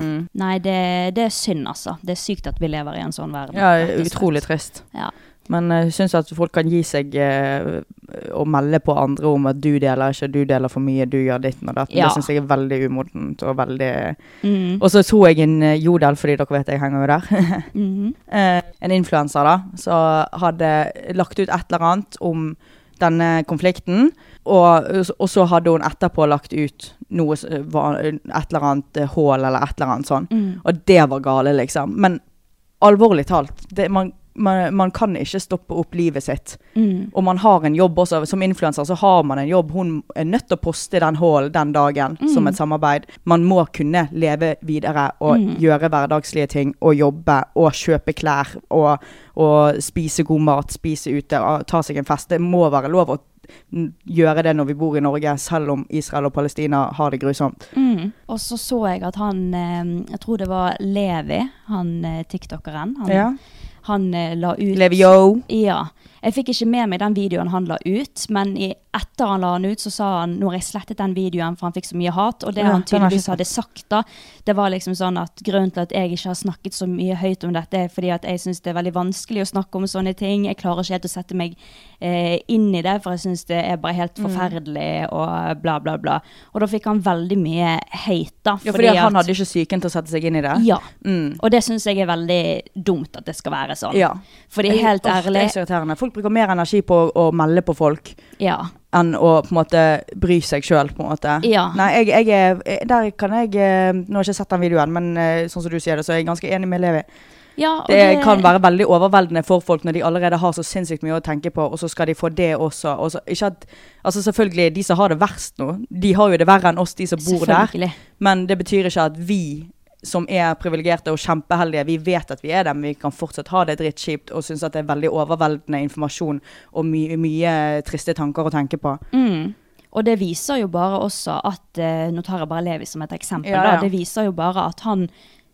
[SPEAKER 3] Mm.
[SPEAKER 4] Nei, det, det er synd, altså. Det er sykt at vi lever i en sånn verden.
[SPEAKER 3] Ja,
[SPEAKER 4] rett og slett.
[SPEAKER 3] utrolig trist.
[SPEAKER 4] Ja.
[SPEAKER 3] Men eh, jeg syns at folk kan gi seg eh, og melde på andre om at du deler ikke, du deler for mye, du gjør ditten og datten.
[SPEAKER 4] Ja.
[SPEAKER 3] Det syns jeg er veldig umodent og veldig
[SPEAKER 4] Mm.
[SPEAKER 3] Og så så jeg en eh, Jodel, fordi dere vet jeg henger jo der.
[SPEAKER 4] Mhm.
[SPEAKER 3] eh, en influenser da, som hadde lagt ut et eller annet om denne konflikten, og, og så hadde hun etterpå lagt ut noe, s- var- et eller annet eh, hål eller et eller annet sånn.
[SPEAKER 4] Mm.
[SPEAKER 3] Og det var gale, liksom. Men alvorlig talt, det, man, man, man kan ikke stoppe opp livet sitt.
[SPEAKER 4] Mm.
[SPEAKER 3] Og man har en jobb også. Som influenser så har man en jobb. Hun er nødt til å poste den hallen den dagen som et samarbeid. Man må kunne leve videre og gjøre hverdagslige ting og jobbe og kjøpe klær og, og spise god mat, spise ute og ta seg en fest. Det må være lov å n- gjøre det når vi bor i Norge, selv om Israel og Palestina har det grusomt.
[SPEAKER 4] Mm. Og så så jeg at han eh, Jeg tror det var Levi, han eh, tiktokeren. Han, han eh, la ut
[SPEAKER 3] Levio.
[SPEAKER 4] Ja. Jeg fikk ikke med meg den videoen han la ut, men i, etter han la den ut, så sa han Nå har jeg slettet den videoen, for han fikk så mye hat. Og det
[SPEAKER 3] Ja,
[SPEAKER 4] han
[SPEAKER 3] den har jeg ikke
[SPEAKER 4] tydeligvis hadde sagt da, det var liksom sånn at grunnen til at jeg ikke har snakket så mye høyt om dette, er fordi at jeg syns det er veldig vanskelig å snakke om sånne ting. Jeg klarer ikke helt å sette meg eh, inn i det, for jeg syns det er bare
[SPEAKER 3] Mm.
[SPEAKER 4] helt forferdelig og bla, bla, bla. Og da fikk han veldig mye hate, da.
[SPEAKER 3] Ja, fordi han hadde ikke psyken til å sette seg inn i det.
[SPEAKER 4] Ja.
[SPEAKER 3] Mm.
[SPEAKER 4] Og det syns jeg er veldig dumt at det skal være sånn.
[SPEAKER 3] Ja.
[SPEAKER 4] Fordi helt
[SPEAKER 3] Åh, Det
[SPEAKER 4] ærlig
[SPEAKER 3] er så irriterende. Folk bruker mer energi på å, å melde på folk
[SPEAKER 4] Ja.
[SPEAKER 3] enn å på en måte bry seg sjøl, på en måte.
[SPEAKER 4] Ja.
[SPEAKER 3] Nei, jeg, jeg er Der kan jeg eh, Nå har jeg ikke sett den videoen, men eh, sånn som du sier det, så er jeg ganske enig med Levi.
[SPEAKER 4] ja og
[SPEAKER 3] Det kan være veldig overveldende for folk når de allerede har så sinnssykt mye å tenke på, og så skal de få det også. Og så, ikke at, altså selvfølgelig, de som har det verst nå, de har jo det verre enn oss, de som bor der.
[SPEAKER 4] Selvfølgelig.
[SPEAKER 3] Men det betyr ikke at vi som er privilegerte og kjempeheldige, vi vet at vi er det, men vi kan fortsatt ha det drittkjipt og synes at det er veldig overveldende informasjon og my mye triste tanker å tenke på.
[SPEAKER 4] Mm. Og det viser jo bare også at eh, Nå tar jeg bare Levi som et eksempel.
[SPEAKER 3] Ja, ja.
[SPEAKER 4] Da. Det viser jo bare at han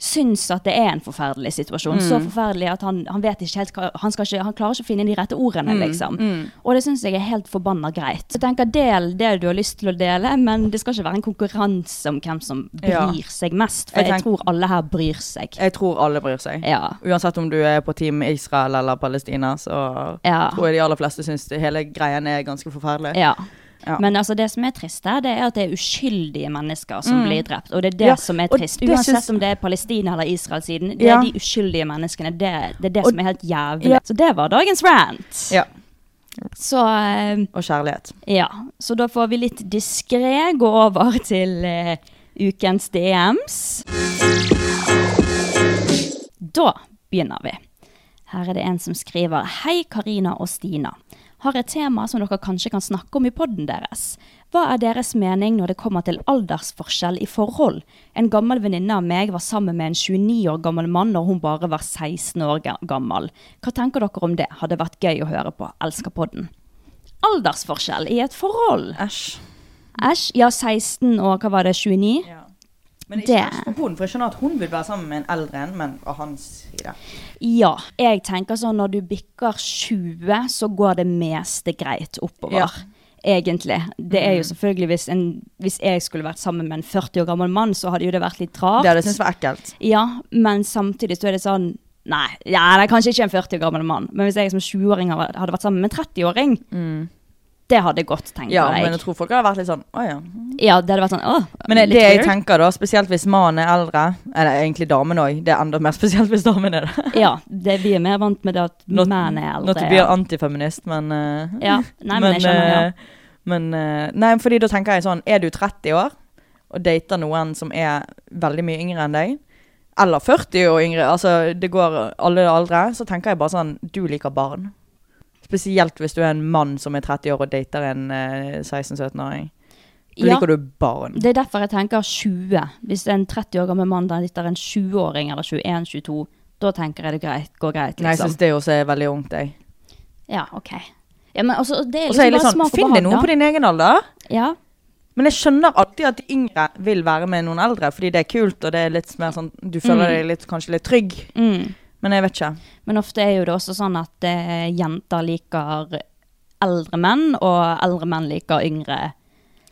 [SPEAKER 4] syns at det er en forferdelig situasjon. Så
[SPEAKER 3] Mm.
[SPEAKER 4] forferdelig at han, han vet ikke helt hva han, skal ikke, han klarer ikke å finne de rette ordene,
[SPEAKER 3] Mm,
[SPEAKER 4] liksom. Og det syns jeg er helt forbanna greit. Så jeg tenker Del det du har lyst til å dele, men det skal ikke være en konkurranse om hvem som bryr
[SPEAKER 3] Ja.
[SPEAKER 4] seg mest. For
[SPEAKER 3] Jeg
[SPEAKER 4] jeg,
[SPEAKER 3] tenk-
[SPEAKER 4] tror alle her bryr seg.
[SPEAKER 3] Jeg tror alle bryr seg.
[SPEAKER 4] Ja.
[SPEAKER 3] Uansett om du er på team Israel eller Palestina, så
[SPEAKER 4] Ja.
[SPEAKER 3] tror jeg de aller fleste syns det hele greien er ganske forferdelig.
[SPEAKER 4] Ja.
[SPEAKER 3] Ja.
[SPEAKER 4] Men altså det som er trist her, det er at det er uskyldige mennesker som blir drept. Og det er det
[SPEAKER 3] Mm. Ja,
[SPEAKER 4] som er
[SPEAKER 3] og
[SPEAKER 4] trist.
[SPEAKER 3] det
[SPEAKER 4] Uansett
[SPEAKER 3] syns-
[SPEAKER 4] om det er Palestina eller Israel-siden. Det
[SPEAKER 3] Ja.
[SPEAKER 4] er de uskyldige menneskene. Det, det er det
[SPEAKER 3] Og-
[SPEAKER 4] som er helt jævlig.
[SPEAKER 3] Ja.
[SPEAKER 4] Så det var dagens rant.
[SPEAKER 3] Ja.
[SPEAKER 4] Så eh,
[SPEAKER 3] Og kjærlighet.
[SPEAKER 4] ja. Så da får vi litt diskré gå over til eh, ukens DMs. Da begynner vi. Her er det en som skriver Hei, Karina og Stina. Har et tema som dere kanskje kan snakke om i podden deres. Hva er deres mening når det kommer til aldersforskjell i forhold? En gammel venninne av meg var sammen med en 29 år gammel mann når hun bare var 16 år ga- gammel. Hva tenker dere om det? Hadde vært gøy å høre på. Elsker podden. Aldersforskjell i et forhold.
[SPEAKER 3] Æsj.
[SPEAKER 4] Æsj. Ja, 16 og hva var det, 29?
[SPEAKER 3] Ja. Men
[SPEAKER 4] ikke Det- verst
[SPEAKER 3] for hun, for jeg skjønner at hun vil være sammen med en eldre en, men av hans side.
[SPEAKER 4] Ja. Jeg tenker sånn når du bikker 20, så går det meste greit oppover.
[SPEAKER 3] Ja. Mm.
[SPEAKER 4] Egentlig. Det er jo selvfølgelig hvis, en, hvis jeg skulle vært sammen med en 40 år gammel mann, så hadde jo det vært litt rart.
[SPEAKER 3] Det hadde jeg syntes var ekkelt.
[SPEAKER 4] Ja, men samtidig så er det sånn Nei, ja, det er kanskje ikke en 40 år gammel mann, men hvis jeg som 20-åring hadde vært- hadde vært sammen med en 30-åring, det hadde gått, tenker
[SPEAKER 3] Mm. Ja,
[SPEAKER 4] jeg.
[SPEAKER 3] men jeg tror folk hadde vært litt sånn Å ja.
[SPEAKER 4] Ja, det hadde vært sånn Åh,
[SPEAKER 3] Men det,
[SPEAKER 4] litt
[SPEAKER 3] det jeg
[SPEAKER 4] weird.
[SPEAKER 3] tenker da, spesielt hvis mannen er eldre, eller egentlig damen òg, det er enda mer spesielt hvis damen er det.
[SPEAKER 4] Ja, det, vi er mer vant med det at
[SPEAKER 3] Not-
[SPEAKER 4] menn er eldre.
[SPEAKER 3] Not to be antifeminist, men eh,
[SPEAKER 4] ja. Nei, men, jeg skjønner, ja.
[SPEAKER 3] eh, men eh, Nei, fordi da tenker jeg sånn Er du 30 år og dater noen som er veldig mye yngre enn deg, eller 40 og yngre, altså det går alle aldre, så tenker jeg bare sånn Du liker barn. Spesielt hvis du er en mann som er 30 år og dater en eh, 16-17-åring. Da
[SPEAKER 4] Ja.
[SPEAKER 3] liker du barn.
[SPEAKER 4] Det er derfor jeg tenker 20. Hvis en 30 år gammel mann dater en 20-åring eller 21-22, da tenker jeg det greit, går greit,
[SPEAKER 3] Nei, jeg
[SPEAKER 4] liksom.
[SPEAKER 3] syns det også er veldig ungt, jeg.
[SPEAKER 4] Ja, OK. Ja, men altså, det er
[SPEAKER 3] Og så
[SPEAKER 4] liksom
[SPEAKER 3] er jeg litt
[SPEAKER 4] bare
[SPEAKER 3] sånn,
[SPEAKER 4] smak og
[SPEAKER 3] finn deg
[SPEAKER 4] behag,
[SPEAKER 3] noen på din egen alder.
[SPEAKER 4] da. Ja.
[SPEAKER 3] Men jeg skjønner alltid at de yngre vil være med noen eldre, fordi det er kult, og det er litt mer sånn, du føler deg litt, kanskje litt trygg.
[SPEAKER 4] Mm.
[SPEAKER 3] Men jeg vet ikke.
[SPEAKER 4] Men ofte er jo det også sånn at eh, jenter liker eldre menn, og eldre menn liker yngre.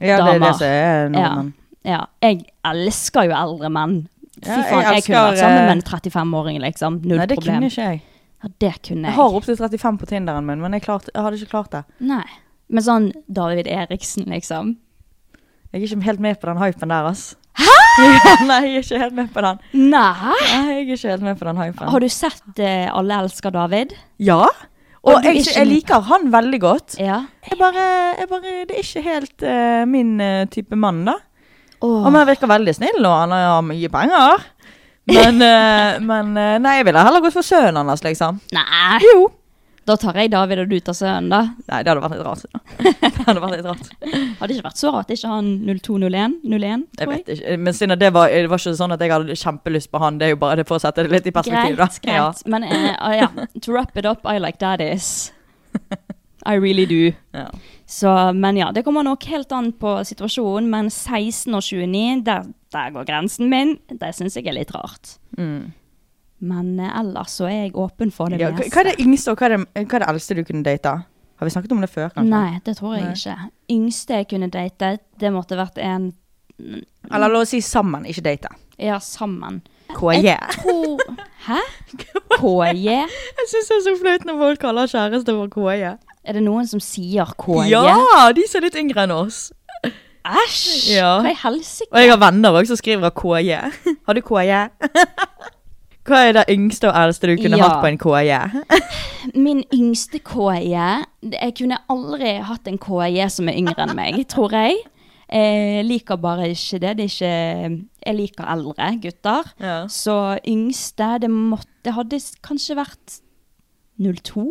[SPEAKER 3] Ja, det er
[SPEAKER 4] Damer.
[SPEAKER 3] det som er
[SPEAKER 4] Ja.
[SPEAKER 3] nordmenn.
[SPEAKER 4] ja. Jeg elsker jo eldre menn. Fy
[SPEAKER 3] Ja, jeg
[SPEAKER 4] faen, jeg, kunne
[SPEAKER 3] elsker,
[SPEAKER 4] vært sammen med
[SPEAKER 3] eh,
[SPEAKER 4] en 35-åring, liksom. Null
[SPEAKER 3] Nei, det
[SPEAKER 4] problem.
[SPEAKER 3] kunne ikke jeg.
[SPEAKER 4] Ja, det kunne
[SPEAKER 3] Jeg
[SPEAKER 4] jeg.
[SPEAKER 3] har opptil 35 på Tinderen min, men jeg, klarte- jeg hadde ikke klart det.
[SPEAKER 4] Nei. Men sånn David Eriksen, liksom.
[SPEAKER 3] Jeg er ikke helt med på den hypen der, ass. Hæ?! Nei, jeg er ikke helt med på den.
[SPEAKER 4] Nei!
[SPEAKER 3] Nei, jeg er ikke helt med på den hypen.
[SPEAKER 4] Har du sett eh, Alle elsker David?
[SPEAKER 3] Ja!
[SPEAKER 4] Har
[SPEAKER 3] Og
[SPEAKER 4] du
[SPEAKER 3] jeg,
[SPEAKER 4] ikke- Eh.
[SPEAKER 3] jeg liker han veldig godt.
[SPEAKER 4] Ja.
[SPEAKER 3] Jeg bare, jeg bare Det er ikke helt eh, min eh, type mann, da.
[SPEAKER 4] Åh.
[SPEAKER 3] Han virker veldig snill, og han har mye penger. Men, eh, men eh, Nei, jeg ville heller gått for sønnen hans, liksom.
[SPEAKER 4] Nei!
[SPEAKER 3] Jo.
[SPEAKER 4] Da tar jeg David og du tar sønnen, da.
[SPEAKER 3] Nei, det hadde vært litt rart. Det hadde vært litt rart.
[SPEAKER 4] Hadde ikke vært så rart ikke han 0201 01,
[SPEAKER 3] Jeg
[SPEAKER 4] tror jeg.
[SPEAKER 3] vet ikke, men siden det var, det var ikke sånn at jeg hadde kjempelyst på han, det er jo bare det for å sette det litt i
[SPEAKER 4] Greit,
[SPEAKER 3] perspektiv, da.
[SPEAKER 4] greit. Men eh, ah, ja, to wrap it up, I like daddies. I really do.
[SPEAKER 3] Ja. Ja.
[SPEAKER 4] Så, men ja, det kommer nok helt an på situasjonen, men 16 og 29, der, der går grensen min. Det syns jeg er litt rart. Men eh, ellers så er jeg åpen for det
[SPEAKER 3] Mm. Ja, hva
[SPEAKER 4] meste.
[SPEAKER 3] hva er det yngste og hva er det, hva er det eldste du kunne date? Har vi snakket om det før, kanskje?
[SPEAKER 4] Nei, det tror jeg
[SPEAKER 3] Nei.
[SPEAKER 4] ikke. Yngste jeg kunne date, det måtte vært en
[SPEAKER 3] Eller la oss si sammen, ikke date.
[SPEAKER 4] ja, sammen.
[SPEAKER 3] KJ.
[SPEAKER 4] Ko... Hæ? KJ?
[SPEAKER 3] Jeg syns det er så flaut når folk kaller kjæreste for KJ.
[SPEAKER 4] Er det noen som sier KJ?
[SPEAKER 3] Ja, de som er litt yngre enn oss.
[SPEAKER 4] Æsj!
[SPEAKER 3] Ja.
[SPEAKER 4] Hva i helsike?
[SPEAKER 3] Og jeg har venner òg som skriver KJ. Har du KJ? Hva er det yngste og eldste du kunne
[SPEAKER 4] Ja.
[SPEAKER 3] hatt på en KJ?
[SPEAKER 4] Min yngste KJ Jeg kunne aldri hatt en KJ som er yngre enn meg, tror jeg. Jeg liker bare ikke det. det er ikke, jeg liker eldre gutter.
[SPEAKER 3] Ja.
[SPEAKER 4] Så yngste det, måtte, det hadde s- kanskje vært 02,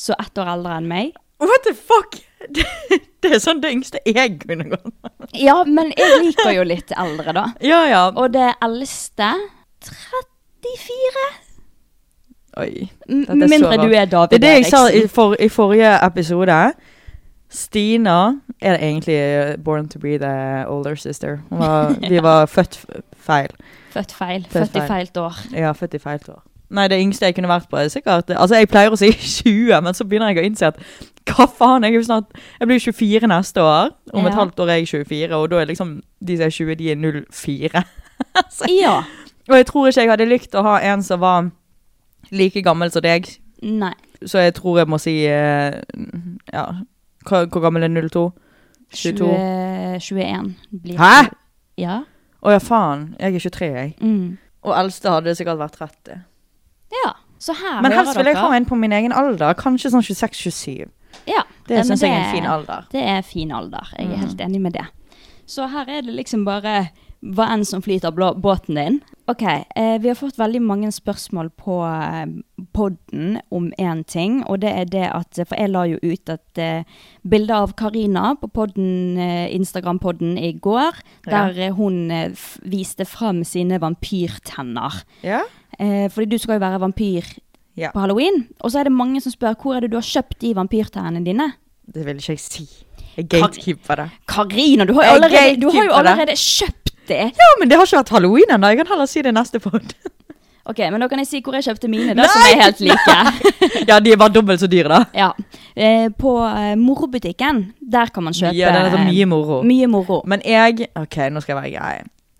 [SPEAKER 4] så ett år eldre enn meg.
[SPEAKER 3] What the fuck? Det, det er sånn det yngste jeg kunne gått med.
[SPEAKER 4] Ja, men jeg liker jo litt eldre, da.
[SPEAKER 3] Ja, ja.
[SPEAKER 4] Og det eldste 34.
[SPEAKER 3] Oi.
[SPEAKER 4] M-
[SPEAKER 3] Dette er så
[SPEAKER 4] mindre du
[SPEAKER 3] rart.
[SPEAKER 4] er David
[SPEAKER 3] Det er det jeg sa i,
[SPEAKER 4] Eriksen.
[SPEAKER 3] for, i forrige episode. Stina er det egentlig eh, born to be the older sister. Hun var, Vi var født f- feil.
[SPEAKER 4] Født feil.
[SPEAKER 3] Født
[SPEAKER 4] Født i feil år.
[SPEAKER 3] Ja, født i feil år. Nei, det yngste jeg kunne vært på er sikkert Altså, jeg pleier å si 20, men så begynner jeg å innse at hva faen, jeg er jo snart Jeg blir 24 neste år. Om
[SPEAKER 4] Ja.
[SPEAKER 3] et halvt år er jeg 24, og da er liksom de som er 20, de er 04. så,
[SPEAKER 4] Ja.
[SPEAKER 3] og jeg tror ikke jeg hadde likt å ha en som var like gammel som deg,
[SPEAKER 4] Nei.
[SPEAKER 3] så jeg tror jeg må si eh, Ja, hva- hvor gammel er 02? 22.
[SPEAKER 4] 20, 21 blir
[SPEAKER 3] Hæ?!
[SPEAKER 4] Ja.
[SPEAKER 3] Å ja, faen. Jeg er 23, jeg.
[SPEAKER 4] Mm.
[SPEAKER 3] Og eldste hadde sikkert vært 30.
[SPEAKER 4] ja. Så her
[SPEAKER 3] Men
[SPEAKER 4] hører
[SPEAKER 3] helst vil jeg
[SPEAKER 4] dere.
[SPEAKER 3] ha en på min egen alder. Kanskje sånn 26-27.
[SPEAKER 4] ja.
[SPEAKER 3] Det
[SPEAKER 4] men
[SPEAKER 3] syns jeg er en fin alder.
[SPEAKER 4] Det er fin alder. Jeg er
[SPEAKER 3] Mm.
[SPEAKER 4] helt enig med det. Så her er det liksom bare hva enn som flyter blå, båten din. Ok, eh, Vi har fått veldig mange spørsmål på eh, podden om én ting. Og det er det at eh, For jeg la jo ut et eh, bilde av Karina på podden, eh, Instagram-podden i går.
[SPEAKER 3] Ja.
[SPEAKER 4] Der eh, hun eh, f viste fram sine vampyrtenner.
[SPEAKER 3] Ja?
[SPEAKER 4] Eh, fordi du skal jo være vampyr
[SPEAKER 3] Ja.
[SPEAKER 4] på halloween. Og så er det mange som spør hvor er det du har kjøpt de vampyrtennene dine.
[SPEAKER 3] Det vil ikke jeg si. Jeg gatekeeper det.
[SPEAKER 4] Karina, du har jo
[SPEAKER 3] Jeg
[SPEAKER 4] allerede, du har jo
[SPEAKER 3] gatekeeper det.
[SPEAKER 4] allerede kjøpt det.
[SPEAKER 3] Ja, men det har ikke vært halloween ennå. Jeg kan heller si det i neste pod.
[SPEAKER 4] Ok, men da kan jeg si hvor jeg kjøpte mine, da, som er helt like.
[SPEAKER 3] ja, de var dobbelt så dyre, da.
[SPEAKER 4] Ja. Eh, på eh, Morobutikken, der kan man kjøpe eh,
[SPEAKER 3] Ja, den heter Mye moro.
[SPEAKER 4] Mye moro. Mm.
[SPEAKER 3] Men jeg OK, nå skal jeg være grei.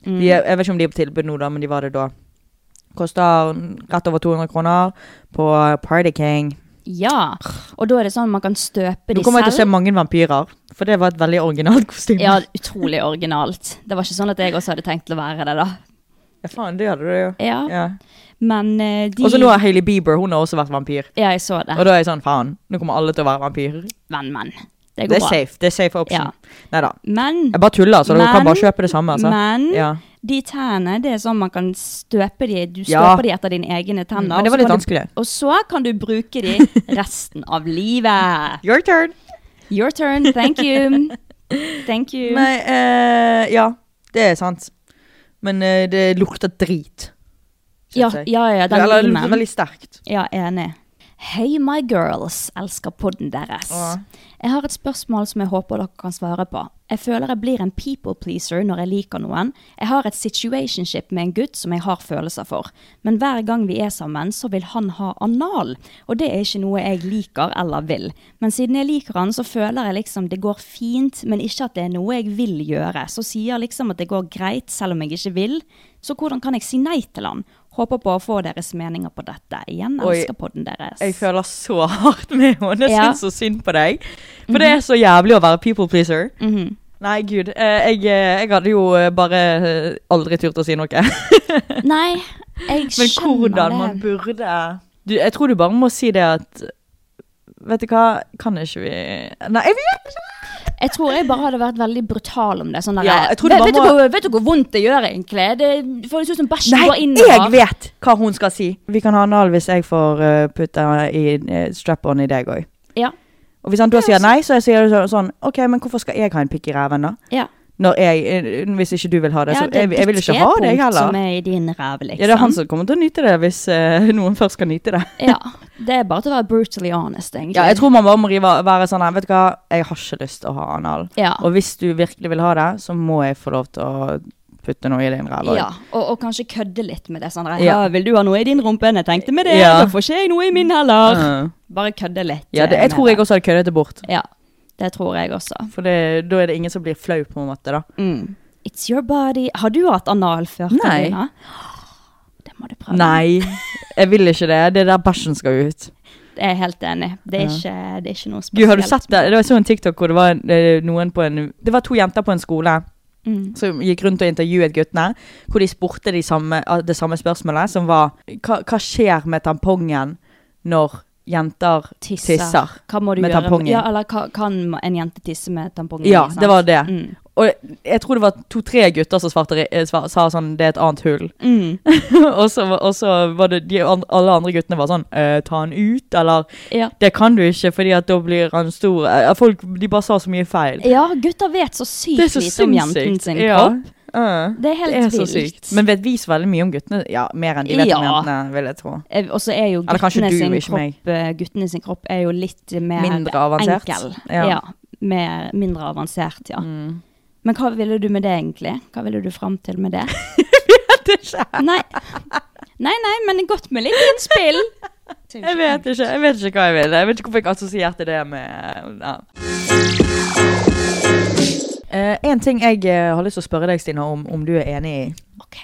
[SPEAKER 3] De, er- jeg vet ikke om de er på tilbud nå, da, men de var det da. Koster rett over 200 kroner på uh, Party King.
[SPEAKER 4] Ja. Og da er det sånn man kan støpe
[SPEAKER 3] Nå
[SPEAKER 4] de
[SPEAKER 3] kommer jeg til å se
[SPEAKER 4] selv.
[SPEAKER 3] mange vampyrer, for det var et veldig originalt kostyme.
[SPEAKER 4] Ja, utrolig originalt. Det var ikke sånn at jeg også hadde tenkt til å være det, da.
[SPEAKER 3] Ja, faen, det hadde du jo.
[SPEAKER 4] Ja,
[SPEAKER 3] Ja.
[SPEAKER 4] men eh, de
[SPEAKER 3] Og så nå har Hailey Bieber hun har også vært vampyr.
[SPEAKER 4] Ja, jeg så det.
[SPEAKER 3] Og da er jeg sånn, faen, nå kommer alle til å være vampyrer.
[SPEAKER 4] Men, men. Det
[SPEAKER 3] Det
[SPEAKER 4] går
[SPEAKER 3] er
[SPEAKER 4] bra.
[SPEAKER 3] safe. det er safe option.
[SPEAKER 4] Ja.
[SPEAKER 3] Nei da.
[SPEAKER 4] Men
[SPEAKER 3] Jeg bare tuller, så dere
[SPEAKER 4] Men-
[SPEAKER 3] kan bare kjøpe det samme. Altså.
[SPEAKER 4] Men
[SPEAKER 3] Ja.
[SPEAKER 4] de tennene, det er sånn man kan støpe de Du
[SPEAKER 3] Ja. Mm,
[SPEAKER 4] støper de etter dine egne tenner.
[SPEAKER 3] Men det var
[SPEAKER 4] og så
[SPEAKER 3] litt
[SPEAKER 4] kan du-
[SPEAKER 3] vanskelig.
[SPEAKER 4] Og så kan du bruke de resten av livet.
[SPEAKER 3] Your turn.
[SPEAKER 4] Your turn, thank you. Thank you.
[SPEAKER 3] Nei, eh, ja. Det er sant. Men eh, det lukter drit.
[SPEAKER 4] ja,
[SPEAKER 3] synes jeg.
[SPEAKER 4] ja, ja, den
[SPEAKER 3] Eller det lukter
[SPEAKER 4] limen.
[SPEAKER 3] veldig sterkt.
[SPEAKER 4] Ja, enig. Hei, my girls. Elsker podden deres.
[SPEAKER 3] Åh.
[SPEAKER 4] Jeg har et spørsmål som jeg håper dere kan svare på. Jeg føler jeg blir en people pleaser når jeg liker noen. Jeg har et situationship med en gutt som jeg har følelser for. Men hver gang vi er sammen, så vil han ha anal. Og det er ikke noe jeg liker eller vil. Men siden jeg liker han, så føler jeg liksom det går fint, men ikke at det er noe jeg vil gjøre. Så sier liksom at det går greit, selv om jeg ikke vil. Så hvordan kan jeg si nei til han? Håper på å få deres meninger på dette. Igjen
[SPEAKER 3] Oi.
[SPEAKER 4] elsker podden deres.
[SPEAKER 3] Jeg føler så hardt med henne. Jeg
[SPEAKER 4] Ja. Mhm.
[SPEAKER 3] syns så synd på deg. For det er så jævlig å være people pleaser. Nei, gud. eh, Jeg, eh, jeg hadde jo eh, bare eh, aldri turt å si noe.
[SPEAKER 4] Nei, jeg
[SPEAKER 3] Men
[SPEAKER 4] skjønner det.
[SPEAKER 3] hvordan man burde du, Jeg tror du bare må si det at Vet du hva, kan ikke vi Nei, jeg vet ikke!
[SPEAKER 4] Jeg tror jeg bare hadde vært veldig brutal om det. Sånn der,
[SPEAKER 3] Ja, jeg tror
[SPEAKER 4] vet,
[SPEAKER 3] det bare
[SPEAKER 4] vet, du
[SPEAKER 3] må-
[SPEAKER 4] hvor, vet du hvor vondt det gjør, egentlig? Det føles ut som bæsjen går
[SPEAKER 3] Nei,
[SPEAKER 4] innover.
[SPEAKER 3] jeg vet hva hun skal si! Vi kan ha anal hvis jeg får eh, putte i eh, strap-on i deg òg.
[SPEAKER 4] Ja,
[SPEAKER 3] Og hvis han da sier nei, så sier du så- sånn OK, men hvorfor skal jeg ha en pikk i ræven, da?
[SPEAKER 4] ja.
[SPEAKER 3] Når jeg, eh, hvis ikke du vil ha det.
[SPEAKER 4] ja
[SPEAKER 3] Så jeg, jeg vil ikke ha deg heller.
[SPEAKER 4] Som er i din ræv, liksom.
[SPEAKER 3] Ja, det er han som kommer til å nyte det, hvis eh, noen først skal nyte det.
[SPEAKER 4] Ja, det er bare til å være brutally honest, egentlig.
[SPEAKER 3] Ja, jeg tror man bare må rive, være sånn her, vet du hva, jeg har ikke lyst til å ha anal.
[SPEAKER 4] Ja.
[SPEAKER 3] Og hvis du virkelig vil ha det, så må jeg få lov til å putte noe i din ræv.
[SPEAKER 4] Ja, og, og kanskje kødde litt med det. Sånn, der,
[SPEAKER 3] Ja.
[SPEAKER 4] ja. 'Vil du ha noe i din rumpe?' Jeg tenkte med det,
[SPEAKER 3] Ja.
[SPEAKER 4] da får ikke jeg noe i min heller.
[SPEAKER 3] Mm.
[SPEAKER 4] Bare kødde litt.
[SPEAKER 3] Ja, det,
[SPEAKER 4] eh,
[SPEAKER 3] jeg tror
[SPEAKER 4] med
[SPEAKER 3] jeg også hadde køddet det bort.
[SPEAKER 4] det. Ja, det tror jeg også.
[SPEAKER 3] For det, da er det ingen som blir flau på en måte, da.
[SPEAKER 4] Mm. It's your body. Har du hatt anal før?
[SPEAKER 3] Nei.
[SPEAKER 4] Karina? Det må du prøve.
[SPEAKER 3] Nei, jeg vil ikke det. Det er der bæsjen skal ut.
[SPEAKER 4] Jeg er helt enig. Det er, ikke, det er ikke noe spesielt.
[SPEAKER 3] Gud, har du sett det? Det var så en TikTok hvor det var eh, noen på en Det var to jenter på en skole
[SPEAKER 4] Mm.
[SPEAKER 3] som gikk rundt og intervjuet guttene. Hvor de spurte de samme, ah, det samme spørsmålet, som var hva, hva skjer med tampongen når jenter tisser,
[SPEAKER 4] Hva må du
[SPEAKER 3] med
[SPEAKER 4] gjøre?
[SPEAKER 3] tampongen?
[SPEAKER 4] Ja, eller ka- kan en jente tisse med tampongen?
[SPEAKER 3] Ja,
[SPEAKER 4] i, sant?
[SPEAKER 3] det var det.
[SPEAKER 4] Mm.
[SPEAKER 3] Og jeg tror det var to-tre gutter som svarte, eh, sva- sa sånn 'det er et annet hull'.
[SPEAKER 4] Mm.
[SPEAKER 3] og, så, var- og så var det de, an- alle andre guttene var sånn eh, 'ta han ut', eller
[SPEAKER 4] Ja.
[SPEAKER 3] 'det kan du ikke, fordi at da blir han stor'. Eh, Folk, de bare sa så mye feil.
[SPEAKER 4] ja, gutter vet så sykt
[SPEAKER 3] Det er så
[SPEAKER 4] lite om jenten
[SPEAKER 3] sinnssykt.
[SPEAKER 4] sin
[SPEAKER 3] Ja.
[SPEAKER 4] kropp.
[SPEAKER 3] Ja.
[SPEAKER 4] Det er helt
[SPEAKER 3] Det er så
[SPEAKER 4] vilt.
[SPEAKER 3] sykt. Men vet vi så veldig mye om guttene? Ja, mer enn de vet om
[SPEAKER 4] Ja.
[SPEAKER 3] jentene, vil jeg tro.
[SPEAKER 4] Eh, Og så er jo
[SPEAKER 3] Eller kanskje
[SPEAKER 4] guttene
[SPEAKER 3] du,
[SPEAKER 4] sin,
[SPEAKER 3] ikke meg.
[SPEAKER 4] kropp, eh, guttene sin kropp er jo litt mer
[SPEAKER 3] Mindre avansert.
[SPEAKER 4] Enkel.
[SPEAKER 3] Ja. Mm.
[SPEAKER 4] Ja. mer, mindre avansert, ja. Men hva ville du med det, egentlig? Hva ville du fram til med det? Nei. Nei, nei, men godt med litt innspill.
[SPEAKER 3] Jeg vet ikke, jeg vet ikke hva jeg vil. Jeg vet ikke hvorfor jeg assosierte det med ja. Eh, en ting jeg eh, har lyst til å spørre deg, Stina, om, om du er enig i.
[SPEAKER 4] Ok.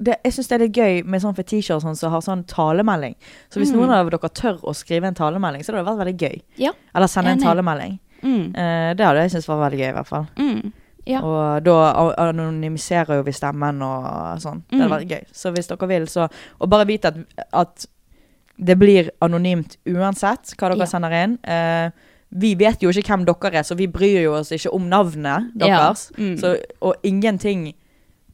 [SPEAKER 3] Det, jeg syns det er litt gøy med sånn fetisjer og sånn som har sånn talemelding. Så hvis noen av dere tør å skrive en talemelding, så hadde det vært veldig gøy.
[SPEAKER 4] Mm. Ja.
[SPEAKER 3] Eller sende en
[SPEAKER 4] Enig.
[SPEAKER 3] talemelding.
[SPEAKER 4] Mm.
[SPEAKER 3] Eh, det hadde jeg syntes var veldig gøy, i hvert fall.
[SPEAKER 4] Mm. Ja.
[SPEAKER 3] Og da a- anonymiserer jo vi stemmen og sånn. Det hadde
[SPEAKER 4] Mm.
[SPEAKER 3] vært gøy. Så hvis dere vil, så Og bare vite at, at det blir anonymt uansett hva
[SPEAKER 4] Ja.
[SPEAKER 3] dere sender inn. Eh, vi vet jo ikke hvem dere er, så vi bryr jo oss ikke om navnet
[SPEAKER 4] Ja.
[SPEAKER 3] deres.
[SPEAKER 4] Mm.
[SPEAKER 3] Så, og ingenting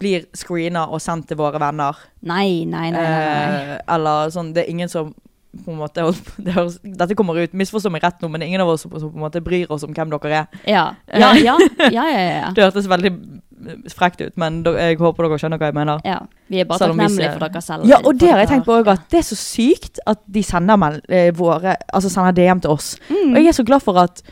[SPEAKER 3] blir screena og sendt til våre venner.
[SPEAKER 4] Nei, nei, nei. nei, nei.
[SPEAKER 3] Eh, eller sånn Det er ingen som på en måte, det høres, Dette kommer ut, misforstå meg rett nå, men det er ingen av oss som på en måte bryr oss om hvem dere er.
[SPEAKER 4] Ja. Ja, ja, ja, ja, ja, ja.
[SPEAKER 3] Det hørtes veldig mm, frekt ut, men da- jeg håper dere skjønner hva jeg mener.
[SPEAKER 4] ja. Vi er bare
[SPEAKER 3] Selv om vi
[SPEAKER 4] takknemlige
[SPEAKER 3] ser-
[SPEAKER 4] for dere selv.
[SPEAKER 3] Ja, og det
[SPEAKER 4] For
[SPEAKER 3] har jeg
[SPEAKER 4] dere-
[SPEAKER 3] tenkt på også, at det er så
[SPEAKER 4] Mm.
[SPEAKER 3] sykt at de sender, mel eh, våre, altså sender DM til oss. Og jeg er så glad for at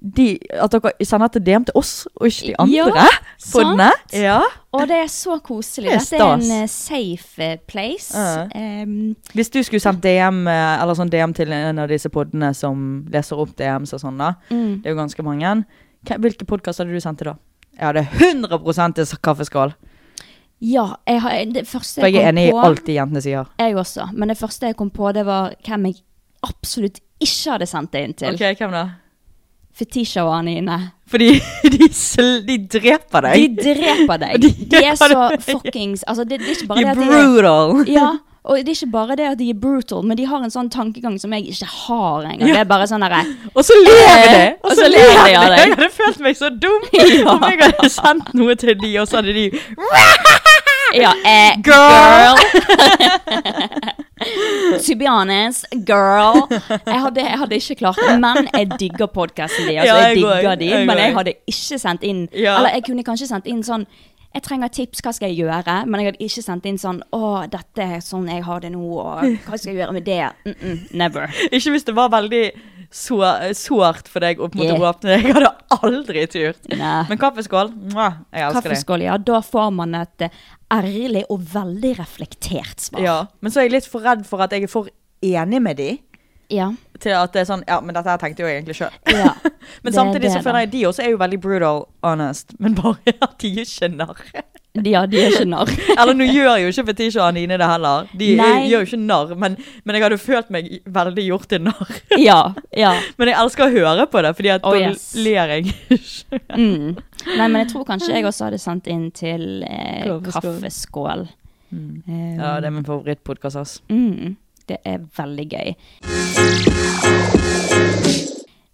[SPEAKER 3] de, at dere sender til DM til oss, og ikke de
[SPEAKER 4] Ja,
[SPEAKER 3] andre på
[SPEAKER 4] sant.
[SPEAKER 3] nett. Ja.
[SPEAKER 4] Og det er så koselig.
[SPEAKER 3] Det er
[SPEAKER 4] Dette er en
[SPEAKER 3] stas.
[SPEAKER 4] eh, safe eh, place.
[SPEAKER 3] Ja.
[SPEAKER 4] Em,
[SPEAKER 3] Hvis du skulle sendt DM, eh, eller sånn DM til en av disse podene som leser opp DMs og sånn, da. Det er jo ganske mange. Hva- Hvilke podkast hadde du sendt til da? Jeg hadde 100 til kaffeskål.
[SPEAKER 4] ja, jeg har, det første
[SPEAKER 3] For jeg er
[SPEAKER 4] kom
[SPEAKER 3] enig i
[SPEAKER 4] på-
[SPEAKER 3] alt de jentene sier.
[SPEAKER 4] Jeg også. Men det første jeg kom på, det var hvem jeg absolutt ikke hadde sendt det inn til.
[SPEAKER 3] Ok, hvem da?
[SPEAKER 4] Fetisha og Anine.
[SPEAKER 3] Fordi de, sl de dreper
[SPEAKER 4] De
[SPEAKER 3] deg.
[SPEAKER 4] dreper deg.
[SPEAKER 3] De
[SPEAKER 4] De er så
[SPEAKER 3] dreper deg.
[SPEAKER 4] fuckings Altså, det, det er ikke bare
[SPEAKER 3] De
[SPEAKER 4] det
[SPEAKER 3] er
[SPEAKER 4] at de
[SPEAKER 3] brutal.
[SPEAKER 4] er Ja. Og det er ikke bare det at de er brutal, men de har en sånn tankegang som jeg ikke har engang. Det er bare sånn derre
[SPEAKER 3] Og så ler de!
[SPEAKER 4] Eh, og så ler de av deg.
[SPEAKER 3] Jeg hadde følt meg så dum om jeg hadde sendt noe til de, og så hadde de
[SPEAKER 4] Ja, eh,
[SPEAKER 3] Girl!
[SPEAKER 4] to be honest, girl. Jeg hadde, jeg hadde ikke klart det, men jeg digger podkasten din. Altså,
[SPEAKER 3] Ja,
[SPEAKER 4] jeg
[SPEAKER 3] jeg går,
[SPEAKER 4] digger de,
[SPEAKER 3] jeg
[SPEAKER 4] men jeg
[SPEAKER 3] går.
[SPEAKER 4] hadde ikke sendt inn
[SPEAKER 3] Ja.
[SPEAKER 4] Eller jeg kunne kanskje sendt inn sånn jeg trenger tips, hva skal jeg gjøre? Men jeg hadde ikke sendt inn sånn Å, dette er sånn jeg har det nå, og hva skal jeg gjøre med det? Mm -mm, never.
[SPEAKER 3] Ikke hvis det var veldig så, sårt for deg å på en måte
[SPEAKER 4] Yeah.
[SPEAKER 3] åpne det. Jeg hadde aldri turt.
[SPEAKER 4] Nei.
[SPEAKER 3] Men kaffeskål, mwah, jeg elsker det.
[SPEAKER 4] Kaffeskål, ja. Da får man et eh, ærlig og veldig reflektert svar.
[SPEAKER 3] Ja. Men så er jeg litt for redd for at jeg er for enig med de.
[SPEAKER 4] ja.
[SPEAKER 3] Til at det er sånn, ja, men dette her tenkte jeg jo egentlig sjøl.
[SPEAKER 4] Ja. Det
[SPEAKER 3] Men
[SPEAKER 4] er
[SPEAKER 3] samtidig så
[SPEAKER 4] det,
[SPEAKER 3] føler jeg de også er jo veldig brutal honest, men bare at de ikke narr.
[SPEAKER 4] Ja, de er ikke narr.
[SPEAKER 3] Eller nå gjør jo ikke Fetisha og Anine det heller. De er,
[SPEAKER 4] Nei.
[SPEAKER 3] gjør jo ikke narr, men, men jeg hadde følt meg veldig gjort til narr.
[SPEAKER 4] Ja. ja.
[SPEAKER 3] Men jeg elsker å høre på det, fordi at
[SPEAKER 4] Oh,
[SPEAKER 3] da
[SPEAKER 4] yes.
[SPEAKER 3] ler jeg.
[SPEAKER 4] Mm. Nei, men jeg tror kanskje jeg også hadde sendt inn til eh,
[SPEAKER 3] Kaffeskål. Mm.
[SPEAKER 4] kaffeskål. Um,
[SPEAKER 3] ja, det er min favorittpodkast, ass.
[SPEAKER 4] mm, det er veldig gøy.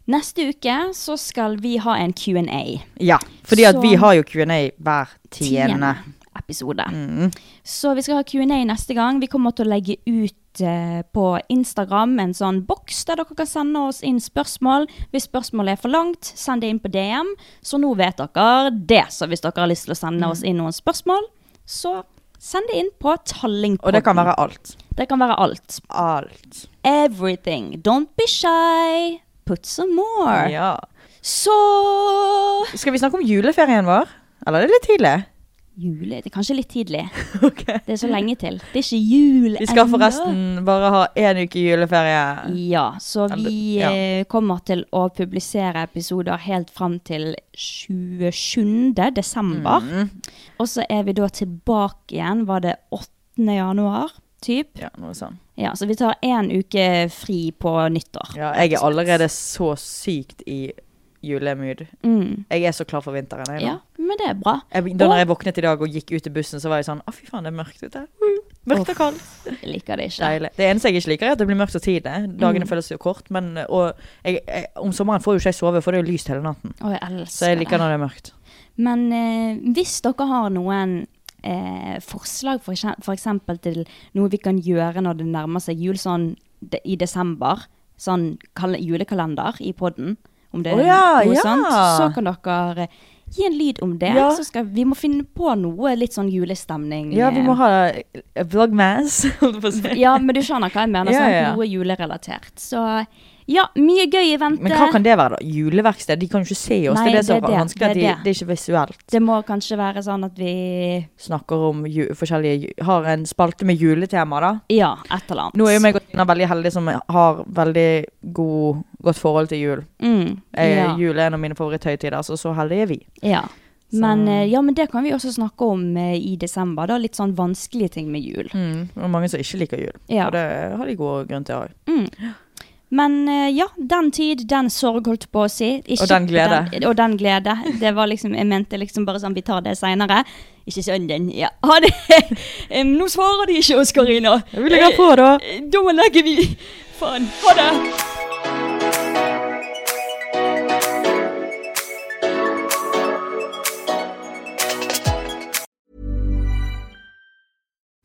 [SPEAKER 4] Neste uke så skal vi ha en Q&A.
[SPEAKER 3] Ja, fordi at
[SPEAKER 4] Så-
[SPEAKER 3] vi har jo Q&A hver tiende.
[SPEAKER 4] episode.
[SPEAKER 3] Mm.
[SPEAKER 4] Så vi skal ha Q&A neste gang. Vi kommer til å legge ut eh, på Instagram en sånn boks der dere kan sende oss inn spørsmål. Hvis spørsmålet er for langt, send det inn på DM. Så nå vet dere det. Så hvis dere har lyst til å
[SPEAKER 3] Mm.
[SPEAKER 4] sende oss inn noen spørsmål, så send det inn på Tallingpodden.
[SPEAKER 3] Og det kan være alt.
[SPEAKER 4] Det kan være alt.
[SPEAKER 3] Alt.
[SPEAKER 4] Everything. Don't be shy. Put some more.
[SPEAKER 3] Ja.
[SPEAKER 4] Så
[SPEAKER 3] Skal vi snakke om juleferien vår? Eller er det litt tidlig?
[SPEAKER 4] Jule Det er kanskje litt tidlig.
[SPEAKER 3] Ok.
[SPEAKER 4] Det er så lenge til. Det er ikke jul
[SPEAKER 3] Vi skal
[SPEAKER 4] ennå.
[SPEAKER 3] forresten bare ha én uke juleferie.
[SPEAKER 4] Ja, så vi
[SPEAKER 3] Ja.
[SPEAKER 4] eh, kommer til å publisere episoder helt fram til 27.
[SPEAKER 3] Mm.
[SPEAKER 4] desember. Og så er vi da tilbake igjen, var det 8. januar, typ?
[SPEAKER 3] Ja, noe sånt.
[SPEAKER 4] Ja, så vi tar én uke fri på nyttår.
[SPEAKER 3] Ja, jeg er allerede så sykt i julemood.
[SPEAKER 4] Mm.
[SPEAKER 3] Jeg er så klar for vinteren. Jeg, nå.
[SPEAKER 4] Ja, men det er bra.
[SPEAKER 3] jeg, da når
[SPEAKER 4] Og-
[SPEAKER 3] jeg våknet i dag og gikk ut i bussen, så var jeg sånn Å, fy faen, det er mørkt ute. Mm, Mørkt og kaldt.
[SPEAKER 4] Jeg liker det ikke.
[SPEAKER 3] Deilig. Det eneste jeg ikke liker, er at det blir mørkt og tidlig.
[SPEAKER 4] Mm.
[SPEAKER 3] Dagene føles jo kort. Men og jeg, jeg, om sommeren får jo ikke jeg sove, for det er jo lyst hele natten.
[SPEAKER 4] Å, jeg
[SPEAKER 3] Så
[SPEAKER 4] elsker
[SPEAKER 3] jeg liker
[SPEAKER 4] det.
[SPEAKER 3] når det er mørkt.
[SPEAKER 4] Men eh, hvis dere har noen eh, forslag for, eksem- for eksempel til noe vi kan gjøre når det nærmer seg jul sånn de, i desember, sånn kal julekalender i podden, om det er
[SPEAKER 3] Å ja,
[SPEAKER 4] noe
[SPEAKER 3] ja.
[SPEAKER 4] sånt, så kan dere eh, gi en lyd om det.
[SPEAKER 3] Ja.
[SPEAKER 4] Så skal, vi må finne på noe litt sånn julestemning.
[SPEAKER 3] Ja, vi må
[SPEAKER 4] eh,
[SPEAKER 3] ha eh, vlogmass, holdt jeg på å si.
[SPEAKER 4] Ja, men du skjønner hva jeg mener.
[SPEAKER 3] Ja,
[SPEAKER 4] sånn,
[SPEAKER 3] ja, ja.
[SPEAKER 4] Noe julerelatert. Så ja, mye gøy i vente.
[SPEAKER 3] Men hva kan det være, da? Juleverksted? De kan jo ikke se oss.
[SPEAKER 4] Nei,
[SPEAKER 3] det er det som
[SPEAKER 4] det er
[SPEAKER 3] er
[SPEAKER 4] det.
[SPEAKER 3] vanskelig. at
[SPEAKER 4] Det
[SPEAKER 3] de,
[SPEAKER 4] er det.
[SPEAKER 3] det er ikke visuelt.
[SPEAKER 4] det må kanskje være sånn at vi
[SPEAKER 3] Snakker om ju forskjellige ju- Har en spalte med juletema, da.
[SPEAKER 4] Ja, et eller annet.
[SPEAKER 3] Nå er jo meg og Tina veldig heldige som har veldig god, godt forhold til jul.
[SPEAKER 4] mm,
[SPEAKER 3] Eh,
[SPEAKER 4] ja.
[SPEAKER 3] Jul er en av mine favoritthøytider, så så heldige er vi.
[SPEAKER 4] Ja. Men, eh, ja, men det kan vi også snakke om eh, i desember. Da. Litt sånn vanskelige ting med jul.
[SPEAKER 3] Det er Mm, mange som ikke liker jul,
[SPEAKER 4] Ja.
[SPEAKER 3] og det har de god grunn til òg.
[SPEAKER 4] Men eh, ja, den tid, den sorg, holdt på å si. Ikke-
[SPEAKER 3] Og den glede.
[SPEAKER 4] den- og den glede. Det var liksom, jeg mente liksom bare sånn, vi tar det seinere. Ikke søndagen. Ja, ha det! Em, Nå svarer de ikke oss, Karina.
[SPEAKER 3] Vi legger på, da.
[SPEAKER 4] Eh, Da legger vi Faen. Ha det!